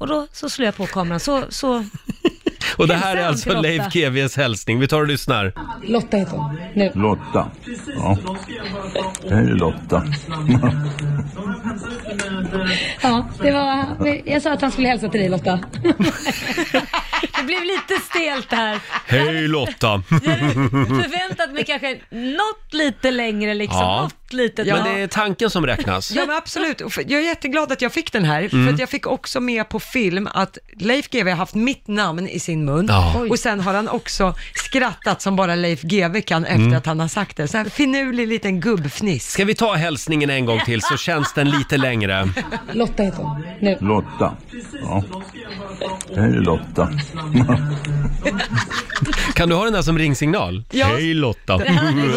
C: Och då så slår jag på kameran, så, så
A: Och det här är
C: Hälsa han till
A: alltså
C: Lotta.
A: Leif GWs hälsning. Vi tar och lyssnar.
G: Lotta heter hon. Nu.
H: Lotta. Ja. Hej Lotta. [LAUGHS]
G: Ja, det var, jag sa att han skulle hälsa till dig Lotta.
C: [LAUGHS] det blev lite stelt här.
A: Hej Lotta!
C: Förväntat mig kanske något lite längre liksom,
A: Mm. Ja.
C: något litet.
A: Men
C: Ja.
A: det är tanken som räknas.
B: Ja men absolut, Och för- jag är jätteglad att jag fick den här,
A: Mm.
B: för att jag fick också med på film att Leif GW har haft mitt namn i sin mun
A: Ja. Oj.
B: och sen har han också skrattat som bara Leif GW kan efter
A: Mm.
B: att han har sagt det. Så här finurlig liten gubbfniss.
A: Ska vi ta hälsningen en gång till så känns den lite längre.
G: Lotta heter hon. Nu.
H: Lotta. Ja. Hej Lotta.
A: Kan du ha den där som ringsignal?
B: Ja.
A: Hej Lotta! Mm.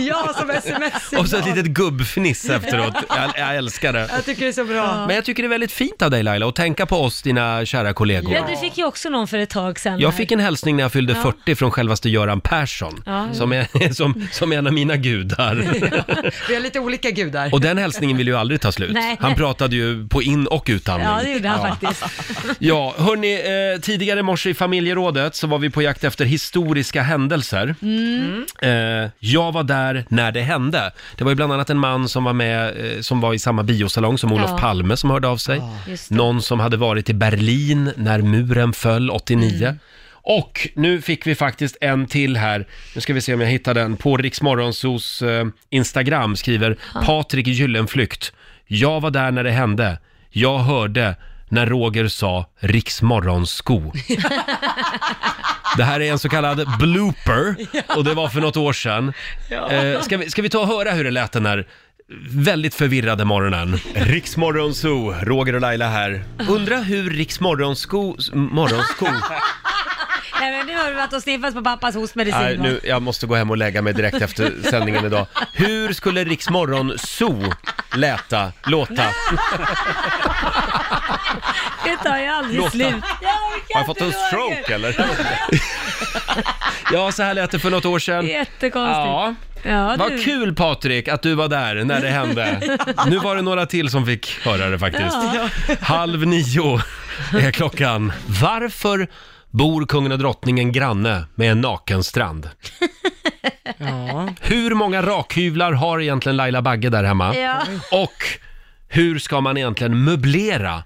B: Ja, som sms
A: Och så ett litet gubbfniss efteråt. Jag, jag älskar det.
B: Jag tycker det är så bra.
A: Men jag tycker det är väldigt fint av dig Laila att tänka på oss, dina kära kollegor.
C: Ja, du fick ju också någon för ett tag sedan.
A: Jag
C: här.
A: fick en hälsning när jag fyllde
C: Ja.
A: 40 från självaste Göran Persson,
C: Ja.
A: som, är, [LAUGHS] som, som är en av mina
C: [LAUGHS]
A: gudar.
B: [LAUGHS] Vi har lite olika gudar.
A: Och den hälsningen vill ju aldrig ta slut.
B: Nej.
A: Han pratade ju på in och utandning.
C: Ja, det gjorde han
A: Ja.
C: faktiskt.
A: Ja, hörni, eh, tidigare i morse i familjerådet så var vi på jakt efter historiska händelser.
C: [LAUGHS] Mm.
A: Eh, jag var där när det hände. Det var ju bland annat en man som var med, eh, som var i samma biosalong som Olof
C: Ja.
A: Palme som hörde av sig.
C: Just det.
A: Någon som hade varit i Berlin när muren föll 89.
C: Mm.
A: Och nu fick vi faktiskt en till här. Nu ska vi se om jag hittar den. På Riksmorgonsos eh, Instagram skriver Patrik Gyllenflykt. Jag var där när det hände. Jag hörde när Roger sa Riksmorgonsko. Det här är en så kallad blooper och det var för något år sedan.
R: Ja.
A: Eh, ska, vi, ska vi ta och höra hur det lät den här väldigt förvirrade morgonen? Riksmorgon Zoo, Roger och Laila här. Undra hur Riksmorgonsko... Morgonsko?
C: Nej, men nu har du varit och sniffat på pappas hostmedicin.
A: Nej, nu, jag måste gå hem och lägga mig direkt efter sändningen idag. Hur skulle Riksmorgon Zoo läta, låta?
C: Det tar ju aldrig
A: Låta.
C: slut. Jag orkar
A: Har jag fått en
C: inte, Roger.
A: stroke eller? [LAUGHS] ja, så här lät det för något år sedan. Ja.
C: Jättekonstigt. Ja,
A: Vad
C: du.
A: kul Patrik att du var där när det
C: [LAUGHS]
A: hände. Nu var det några till som fick höra det faktiskt.
C: Ja.
A: Halv nio är klockan. Varför bor kungen och drottningen granne med en naken strand? Hur många rakhyvlar har egentligen Laila Bagge där hemma?
C: Ja.
A: Och hur ska man egentligen möblera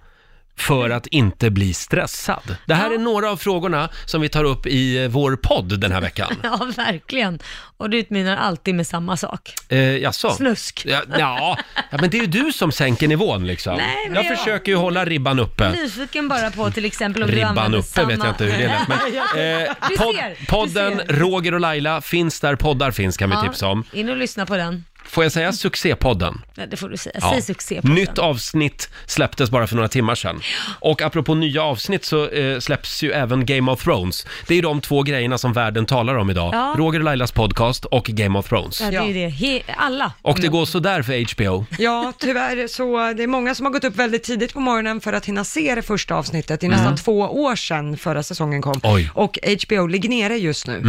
A: för att inte bli stressad? Det här är några av frågorna som vi tar upp i vår podd den här veckan.
C: Ja, verkligen. Och det utmynnar alltid med samma sak.
A: Eh, jaså?
C: Snusk.
A: Ja, ja, ja, men det är ju du som sänker nivån liksom.
C: Nej, men
A: jag,
C: jag-
A: försöker ju hålla ribban uppe.
C: Nyfiken bara på till exempel om du
A: Ribban
C: använder
A: uppe
C: samma...
A: vet jag inte hur det lät.
C: [LAUGHS]
A: Men, eh,
C: Du
A: pod-
C: ser, du
A: podden
C: ser.
A: Roger och Laila finns där poddar finns kan vi tipsa om.
C: In och lyssna på den.
A: Får jag säga succépodden?
C: Nej, Det får du säga.
A: Ja.
C: Säg succé på
A: Nytt avsnitt släpptes bara för några timmar sedan. Och apropå nya avsnitt så eh, släpps ju även Game of Thrones. Det är de två grejerna som världen talar om idag.
C: Ja.
A: Roger och Lailas podcast och Game of Thrones.
C: Ja, det är ju det. He- alla.
A: Och det går sådär för HBO.
B: Ja, tyvärr så det är många som har gått upp väldigt tidigt på morgonen för att hinna se det första avsnittet. Det är nästan
A: Mm.
B: två år sedan förra säsongen kom.
A: Oj.
B: Och HBO ligger nere just nu.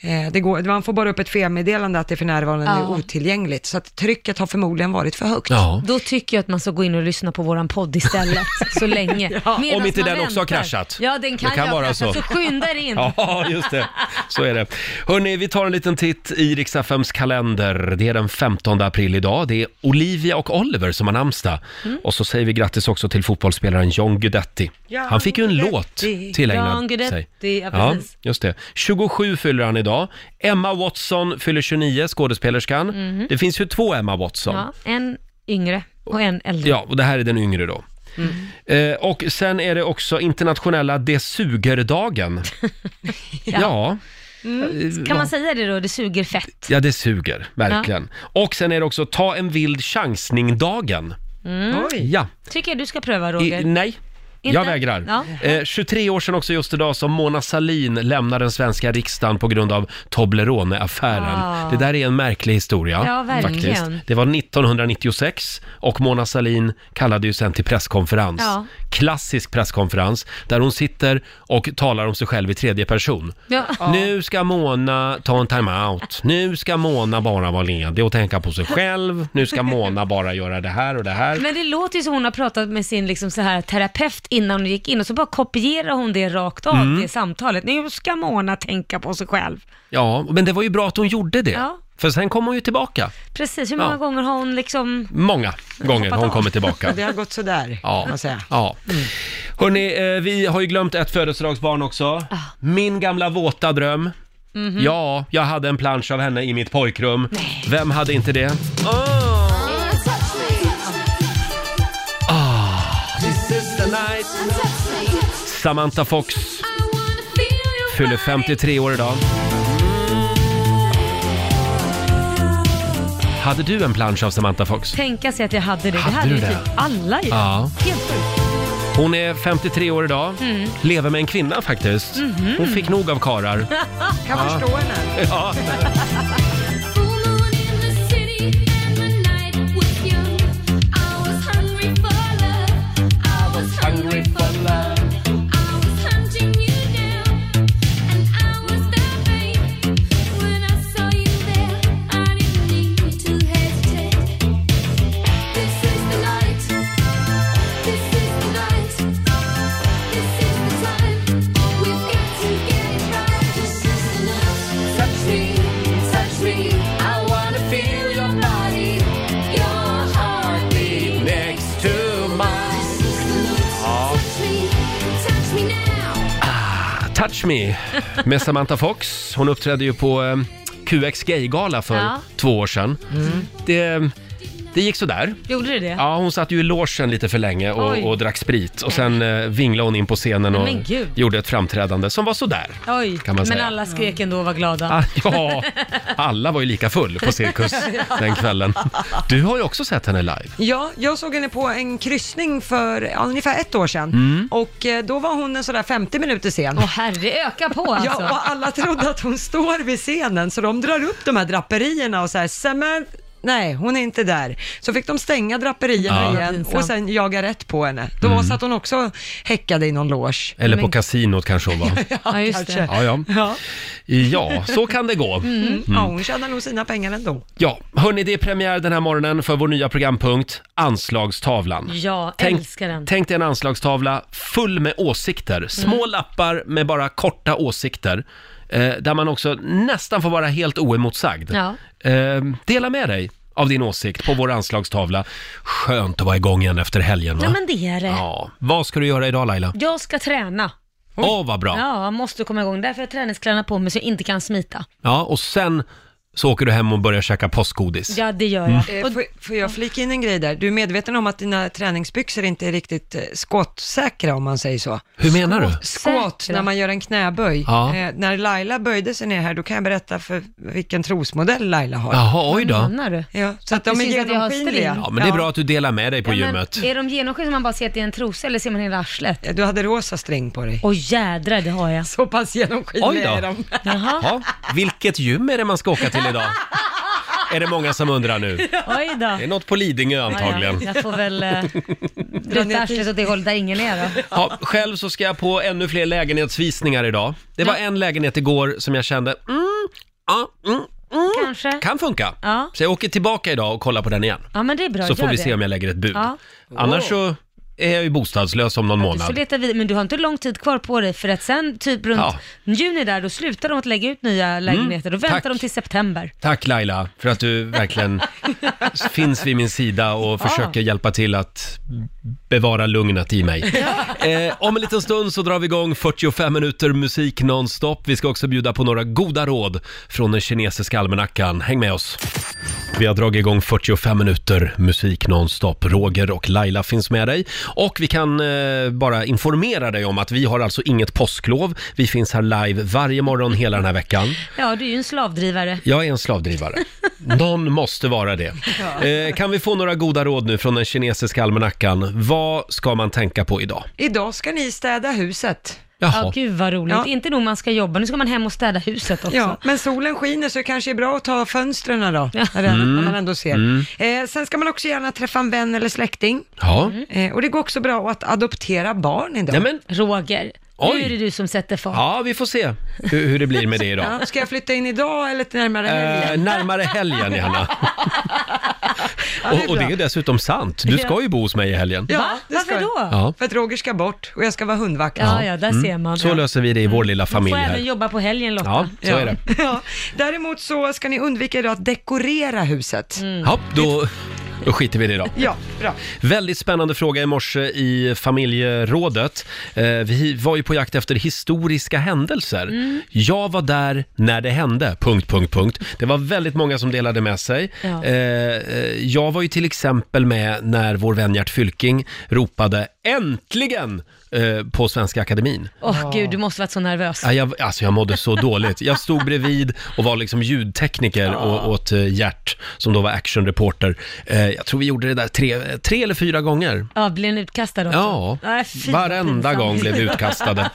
B: Eh, det går, man får bara upp ett felmeddelande att det för närvarande
C: Ja.
B: är otillgängligt. Så att trycket har förmodligen varit för högt.
A: Ja.
C: Då tycker jag att man ska gå in och lyssna på våran podd istället, så länge.
A: [LAUGHS] Ja.
C: Medan
A: Om inte
C: man
A: den också har
C: väntar.
A: kraschat.
C: Ja, den kan,
A: Det kan
C: ju ha
A: vara
C: kraschat,
A: så.
C: så skynda er in.
A: [LAUGHS] Ja, just det. Så är det. Hörni, vi tar en liten titt i riks kalender. Det är den 15 april idag. Det är Olivia och Oliver som har namnsdag.
C: Mm.
A: Och så säger vi grattis också till fotbollsspelaren John Guidetti.
C: John
A: han fick ju en
C: Guidetti.
A: låt tillägnad
C: John Guidetti,
A: sig.
C: ja, precis.
A: just det. 27 fyller han idag. Emma Watson fyller 29, skådespelerskan.
C: Mhm.
A: Det finns ju två Emma Watson.
C: Ja,
A: Ja.
C: en yngre och en äldre.
A: och det här är den yngre då.
C: Mm.
A: Eh, och sen är det också internationella Det
C: [LAUGHS]
A: suger-dagen. ja.
C: Mm. Kan man säga det då? Det suger fett.
A: Ja, det suger, verkligen. Och sen är det också ta en vild chansning-dagen.
C: Mm.
A: Ja.
C: Tycker jag du ska pröva Roger.
A: I, nej.
C: Inte?
A: Jag vägrar.
C: Ja.
A: Eh, 23 år sedan också just idag som Mona Salin lämnar den svenska riksdagen på grund av Toblerone-affären.
C: Ah.
A: Det där är en märklig historia.
C: Ja, verkligen.
A: Faktiskt. Det var 1996 och Mona Salin kallade ju sen till presskonferens.
C: Ja.
A: Klassisk presskonferens där hon sitter och talar om sig själv i tredje person.
C: Ja.
A: Nu ska Mona ta en time-out. Nu ska Mona bara vara ledig och tänka på sig själv. Nu ska Mona bara göra det här och det här.
C: Men det låter ju som hon har pratat med sin liksom så här terapeut innan hon gick in och så bara kopierar hon det rakt av,
A: Mm.
C: det samtalet. Nu ska Mona tänka på sig själv.
A: Ja, men det var ju bra att hon gjorde det.
C: Ja.
A: För sen kom hon ju tillbaka.
C: Precis, hur många
A: Ja.
C: gånger har hon liksom...
A: Många gånger har hon kommit
C: [LAUGHS]
A: tillbaka.
B: Det har gått sådär,
A: Ja.
B: kan man säga.
A: ja. Hörni, eh, vi har ju glömt ett födelsedagsbarn också. Min gamla våta dröm.
C: Mhm.
A: Ja, jag hade en plansch av henne i mitt pojkrum. Vem hade inte det?
E: Oh.
A: Ah, Samantha Fox fyller 53 år idag. Hade du en plansch av Samantha Fox?
C: Tänka sig att jag hade det.
A: Hade
C: det hade
A: du
C: ju
A: det?
C: typ alla ju.
A: Ja.
C: Helt sjukt.
A: Hon är 53 år idag.
C: Mm.
A: Lever med en kvinna faktiskt.
C: Mhm.
A: Hon fick nog av [LAUGHS]
C: [LAUGHS]
A: karar. [LAUGHS]
B: Kan
A: Ja.
B: förstå henne.
A: Ja. Touch Me med Samantha Fox. Hon uppträdde ju på eh, QX Gay-gala för
C: Ja. Mm.
A: två år sedan. Det, det gick sådär.
C: Gjorde du det?
A: Ja, hon satt ju i logen lite för länge
C: Oj.
A: och, och drack sprit och sen eh, vinglade hon in på scenen
C: Nej,
A: och
C: men gud.
A: gjorde ett framträdande som var sådär.
C: Oj,
A: Kan man
C: men
A: säga.
C: alla skrek ändå och var glada.
A: Ah,
C: [LAUGHS]
A: ja, alla var ju lika full på
B: [LAUGHS]
A: Cirkus den kvällen. Du har ju också sett henne live.
B: Ja, jag såg henne på en kryssning för ja, ungefär ett år sedan
A: Mm.
B: och eh, då var hon en sådär 50 minuter sen. Åh
C: herre, öka på alltså.
B: Ja, och alla trodde att hon står vid scenen så de drar upp de här draperierna och så här, Samantha, nej hon är inte där. Så fick de stänga draperierna
A: Ja.
B: igen
A: Pinsamt.
B: och sen jaga rätt på henne. Då
A: Mm.
B: satt hon också häckade i någon loge.
A: Eller på kasinot kanske hon var.
B: [LAUGHS] Ja, just det.
A: Ja, ja.
B: Ja.
A: ja, så kan det gå.
B: Mm.
A: Mm.
B: Ja, hon tjänar nog sina pengar ändå.
A: Ja, hörni, det är premiär den här morgonen för vår nya programpunkt Anslagstavlan.
C: Ja,
A: Tänk,
C: älskar den.
A: tänk dig en anslagstavla full med åsikter. Små
C: Mm.
A: lappar med bara korta åsikter. Eh, där man också nästan får vara helt oemotsagd.
C: Ja.
A: Eh, dela med dig av din åsikt på vår anslagstavla. Skönt att vara igång igen efter helgen va?
C: Ja, men det är det.
A: Ja. Vad ska du göra idag Laila?
C: Jag ska träna.
A: Åh, vad bra.
C: Ja, jag måste komma igång. Därför har jag träningskläderna på mig så jag inte kan smita.
A: Ja, och sen så åker du hem och börjar käka påskgodis.
C: Ja, det gör
A: Mm.
C: jag.
B: Eh, Får, får jag flika in en grej där? Du är medveten om att dina träningsbyxor inte är riktigt eh, skottsäkra om man säger så?
A: Hur menar du?
B: Skott när man gör en knäböj.
A: Ja.
B: Eh, när Laila böjde sig ner här, då kan jag berätta för vilken trosmodell Laila har.
A: Jaha, oj då. Vad menar
C: du?
B: Ja, så att, de är
C: precis att jag har
B: genomskinliga.
C: string.
A: Ja, men det är bra att du delar med dig på
C: Ja, men
A: gymmet.
C: Är de genomskinliga som man bara ser att det är en trosa eller ser man hela arslet?
B: Du hade rosa string på dig.
C: Åh jädrar, det har jag.
B: Så pass
A: Oj då.
B: genomskinliga är de.
C: Jaha.
A: Ja, vilket gym är det man ska åka till
C: [LAUGHS]
A: idag? Är det många som undrar nu?
C: Oj då.
A: Det är något på Lidingö
C: Ja, ja.
A: antagligen.
C: Jag får
A: [LAUGHS]
C: väl eh, ruta arslet åt det hållet där ingen är då.
A: Ja, själv så ska jag på ännu fler lägenhetsvisningar idag. Det var en lägenhet igår som jag kände, mm, ja, mm,
C: Kanske.
A: kan funka.
C: Ja.
A: Så jag åker tillbaka idag och kollar på den igen.
C: Ja, men det är bra.
A: Så får
C: Gör
A: vi
C: det.
A: se om jag lägger ett bud.
C: Ja.
A: Annars så är jag ju bostadslös om någon
C: Så
A: månad.
C: letar vi, men du har inte lång tid kvar på dig för att sen typ runt
A: Ja. Mm.
C: juni där, då slutar de att lägga ut nya lägenheter. Då väntar
A: tack.
C: de till september.
A: Tack Laila för att du verkligen finns vid min sida och
C: Ja.
A: försöker hjälpa till att bevara lugnet i mig. Eh, om en liten stund så drar vi igång 45 minuter musik nonstop. Vi ska också bjuda på några goda råd från den kinesiska almanackan. Häng med oss! Vi har dragit igång 45 minuter musik nonstop. Roger och Laila finns med dig. Och vi kan eh, bara informera dig om att vi har alltså inget påsklov. Vi finns här live varje morgon hela den här veckan.
C: Ja, du är ju en slavdrivare.
A: Jag är en slavdrivare. Någon måste vara det.
C: Ja.
A: Eh, kan vi få några goda råd nu från den kinesiska almanackan? Vad ska man tänka på idag?
B: Idag ska ni städa huset.
A: Jaha.
C: Ja, gud vad roligt.
B: Ja.
C: Inte nog man ska jobba, nu ska man hem och städa huset också.
B: Ja, men solen skiner så det kanske är bra att ta fönstren då, när, det-
C: Mm.
B: när man ändå ser.
C: Mm.
B: Eh, sen ska man också gärna träffa en vän eller släkting.
A: Ja.
C: Mm.
B: Eh, och det går också bra att adoptera barn idag.
A: Nej, men-
C: Roger,
A: Oj.
C: nu är det du som sätter fart.
A: Ja, vi får se hur, hur det blir med det idag.
B: [LAUGHS] Ja, ska jag flytta in idag eller till närmare helgen?
A: Eh, närmare helgen gärna.
B: [LAUGHS] Ja,
A: Och, och det
B: bra.
A: är ju dessutom sant. Du ska ju bo hos mig i helgen.
B: Ja, det
C: Varför
B: ska jag.
C: då?
A: Ja.
B: För att Roger ska bort och jag ska vara hundvakt.
C: Ja, ja, där Mm. ser man.
A: Så löser vi det i vår lilla familj
C: Får även
A: här.
C: jobba på helgen Lotta.
A: Ja, så är det.
B: Ja. Däremot så ska ni undvika idag att dekorera huset.
A: Ja, då, då skiter vi i det idag.
B: Ja, bra.
A: Väldigt spännande fråga i morse i familjerådet. Eh, vi var ju på jakt efter historiska händelser.
R: Mm.
A: Jag var där när det hände, punkt, punkt, punkt. Det var väldigt många som delade med sig.
R: Ja.
A: Eh, eh, jag var ju till exempel med när vår vän Gert Fylking ropade ”Äntligen!” eh, på Svenska Akademin.
C: Åh gud, du måste varit så nervös.
A: Ja, jag, alltså jag mådde så dåligt. Jag stod bredvid och var liksom ljudtekniker och, åt eh, Gert, som då var actionreporter. Eh, jag tror vi gjorde det där tre, tre eller fyra gånger.
C: Ja, blev ni utkastad också?
A: Ja,
C: Nej, fy, vad
A: varenda
C: pinsamt.
A: gång blev vi
C: [LAUGHS]
A: utkastade.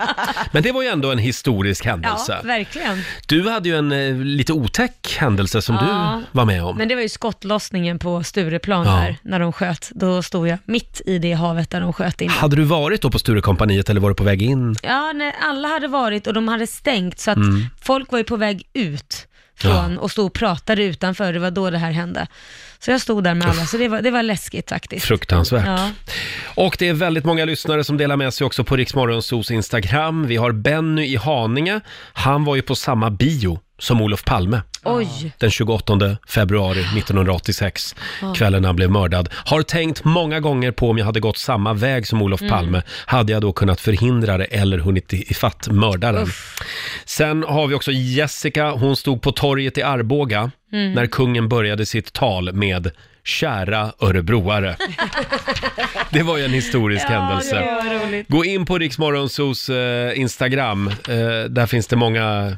A: Men det var ju ändå en historisk
C: Ja,
A: händelse.
C: verkligen.
A: Du hade ju en eh, lite otäck händelse som
C: Ja.
A: du var med om.
C: Men det var ju skottlossningen på Stureplan
A: Ja.
C: där, när de sköt. Då stod jag mitt i det havet där de sköt in.
A: Hade du varit då på Sturecompagniet eller var du på väg in?
C: Ja, nej, alla hade varit och de hade stängt så att
A: Mm.
C: folk var ju på väg ut från och stod och pratade utanför. Det var då det här hände. Så jag stod där med alla, så det var, det var läskigt faktiskt.
A: Fruktansvärt.
C: Ja.
A: Och det är väldigt många lyssnare som delar med sig också på Riksmorgonsos Instagram. Vi har Benny i Haninge. Han var ju på samma bio som Olof Palme.
C: Oj.
A: Den 28 februari 1986,
C: Ja.
A: kvällen han blev mördad. Har tänkt många gånger på om jag hade gått samma väg som Olof
C: Mm.
A: Palme. Hade jag då kunnat förhindra det eller hunnit i- ifatt mördaren? Sen har vi också Jessica. Hon stod på torget i Arboga
C: Mm.
A: när kungen började sitt tal med Kära
C: [LAUGHS]
A: örebroare. Det var ju en historisk händelse. Gå in på Riksmorgonsos eh, Instagram. Eh, där finns det många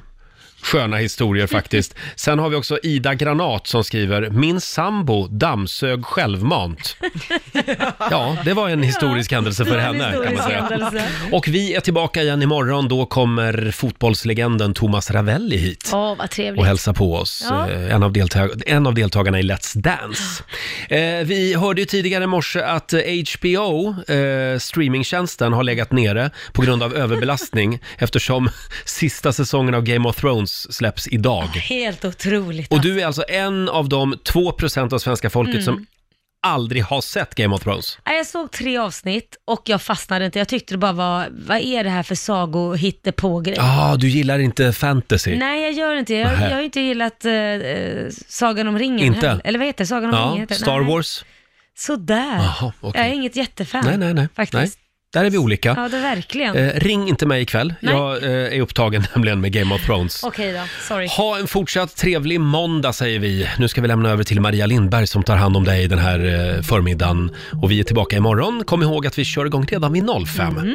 A: sköna [LAUGHS] historier faktiskt. Sen har vi också Ida Granat som skriver “Min sambo dammsög [LAUGHS] självmant”. Ja, det var en historisk händelse för henne kan man säga. Och vi är tillbaka igen imorgon. Då kommer fotbollslegenden Thomas Ravelli hit
E: Åh, vad trevligt.
A: och hälsa på oss.
E: Ja.
A: Eh, En, av deltag- en av deltagarna i Let's Dance. Eh, vi hörde ju tidigare i morse att eh, HBO, eh, streamingtjänsten, har legat nere på grund av
C: [LAUGHS]
A: överbelastning eftersom sista säsongen av Game of Thrones släpps idag.
C: Helt otroligt.
A: Och du är alltså en av de 2% av svenska folket
C: Mm.
A: som aldrig har sett Game of Thrones.
C: Nej, Jag såg tre avsnitt och jag fastnade inte. Jag tyckte det bara var, vad är det här för sago på grej
A: Ja, ah, du gillar inte fantasy.
C: Nej, jag gör inte det. Jag,
A: Nähä.
C: jag har inte gillat eh, eh, Sagan om ringen
A: Inte?
C: heller. Eller vad heter det? Sagan om ringen?
A: ja,
C: Heter. det.
A: Star
C: Nej.
A: Wars?
C: Sådär.
A: Jaha, okej.
C: Jag är inget jättefan.
A: Nej, nej, nej.
C: Faktiskt.
A: nej. Där är vi olika.
C: Ja, det är verkligen.
A: Eh, ring inte mig ikväll.
C: Nej.
A: Jag eh, är upptagen [LAUGHS] nämligen med Game of Thrones.
C: Okej då, sorry.
A: Ha en fortsatt trevlig måndag säger vi. Nu ska vi lämna över till Maria Lindberg som tar hand om dig den här eh, förmiddagen. Och vi är tillbaka imorgon. Kom ihåg att vi kör igång redan vid 05.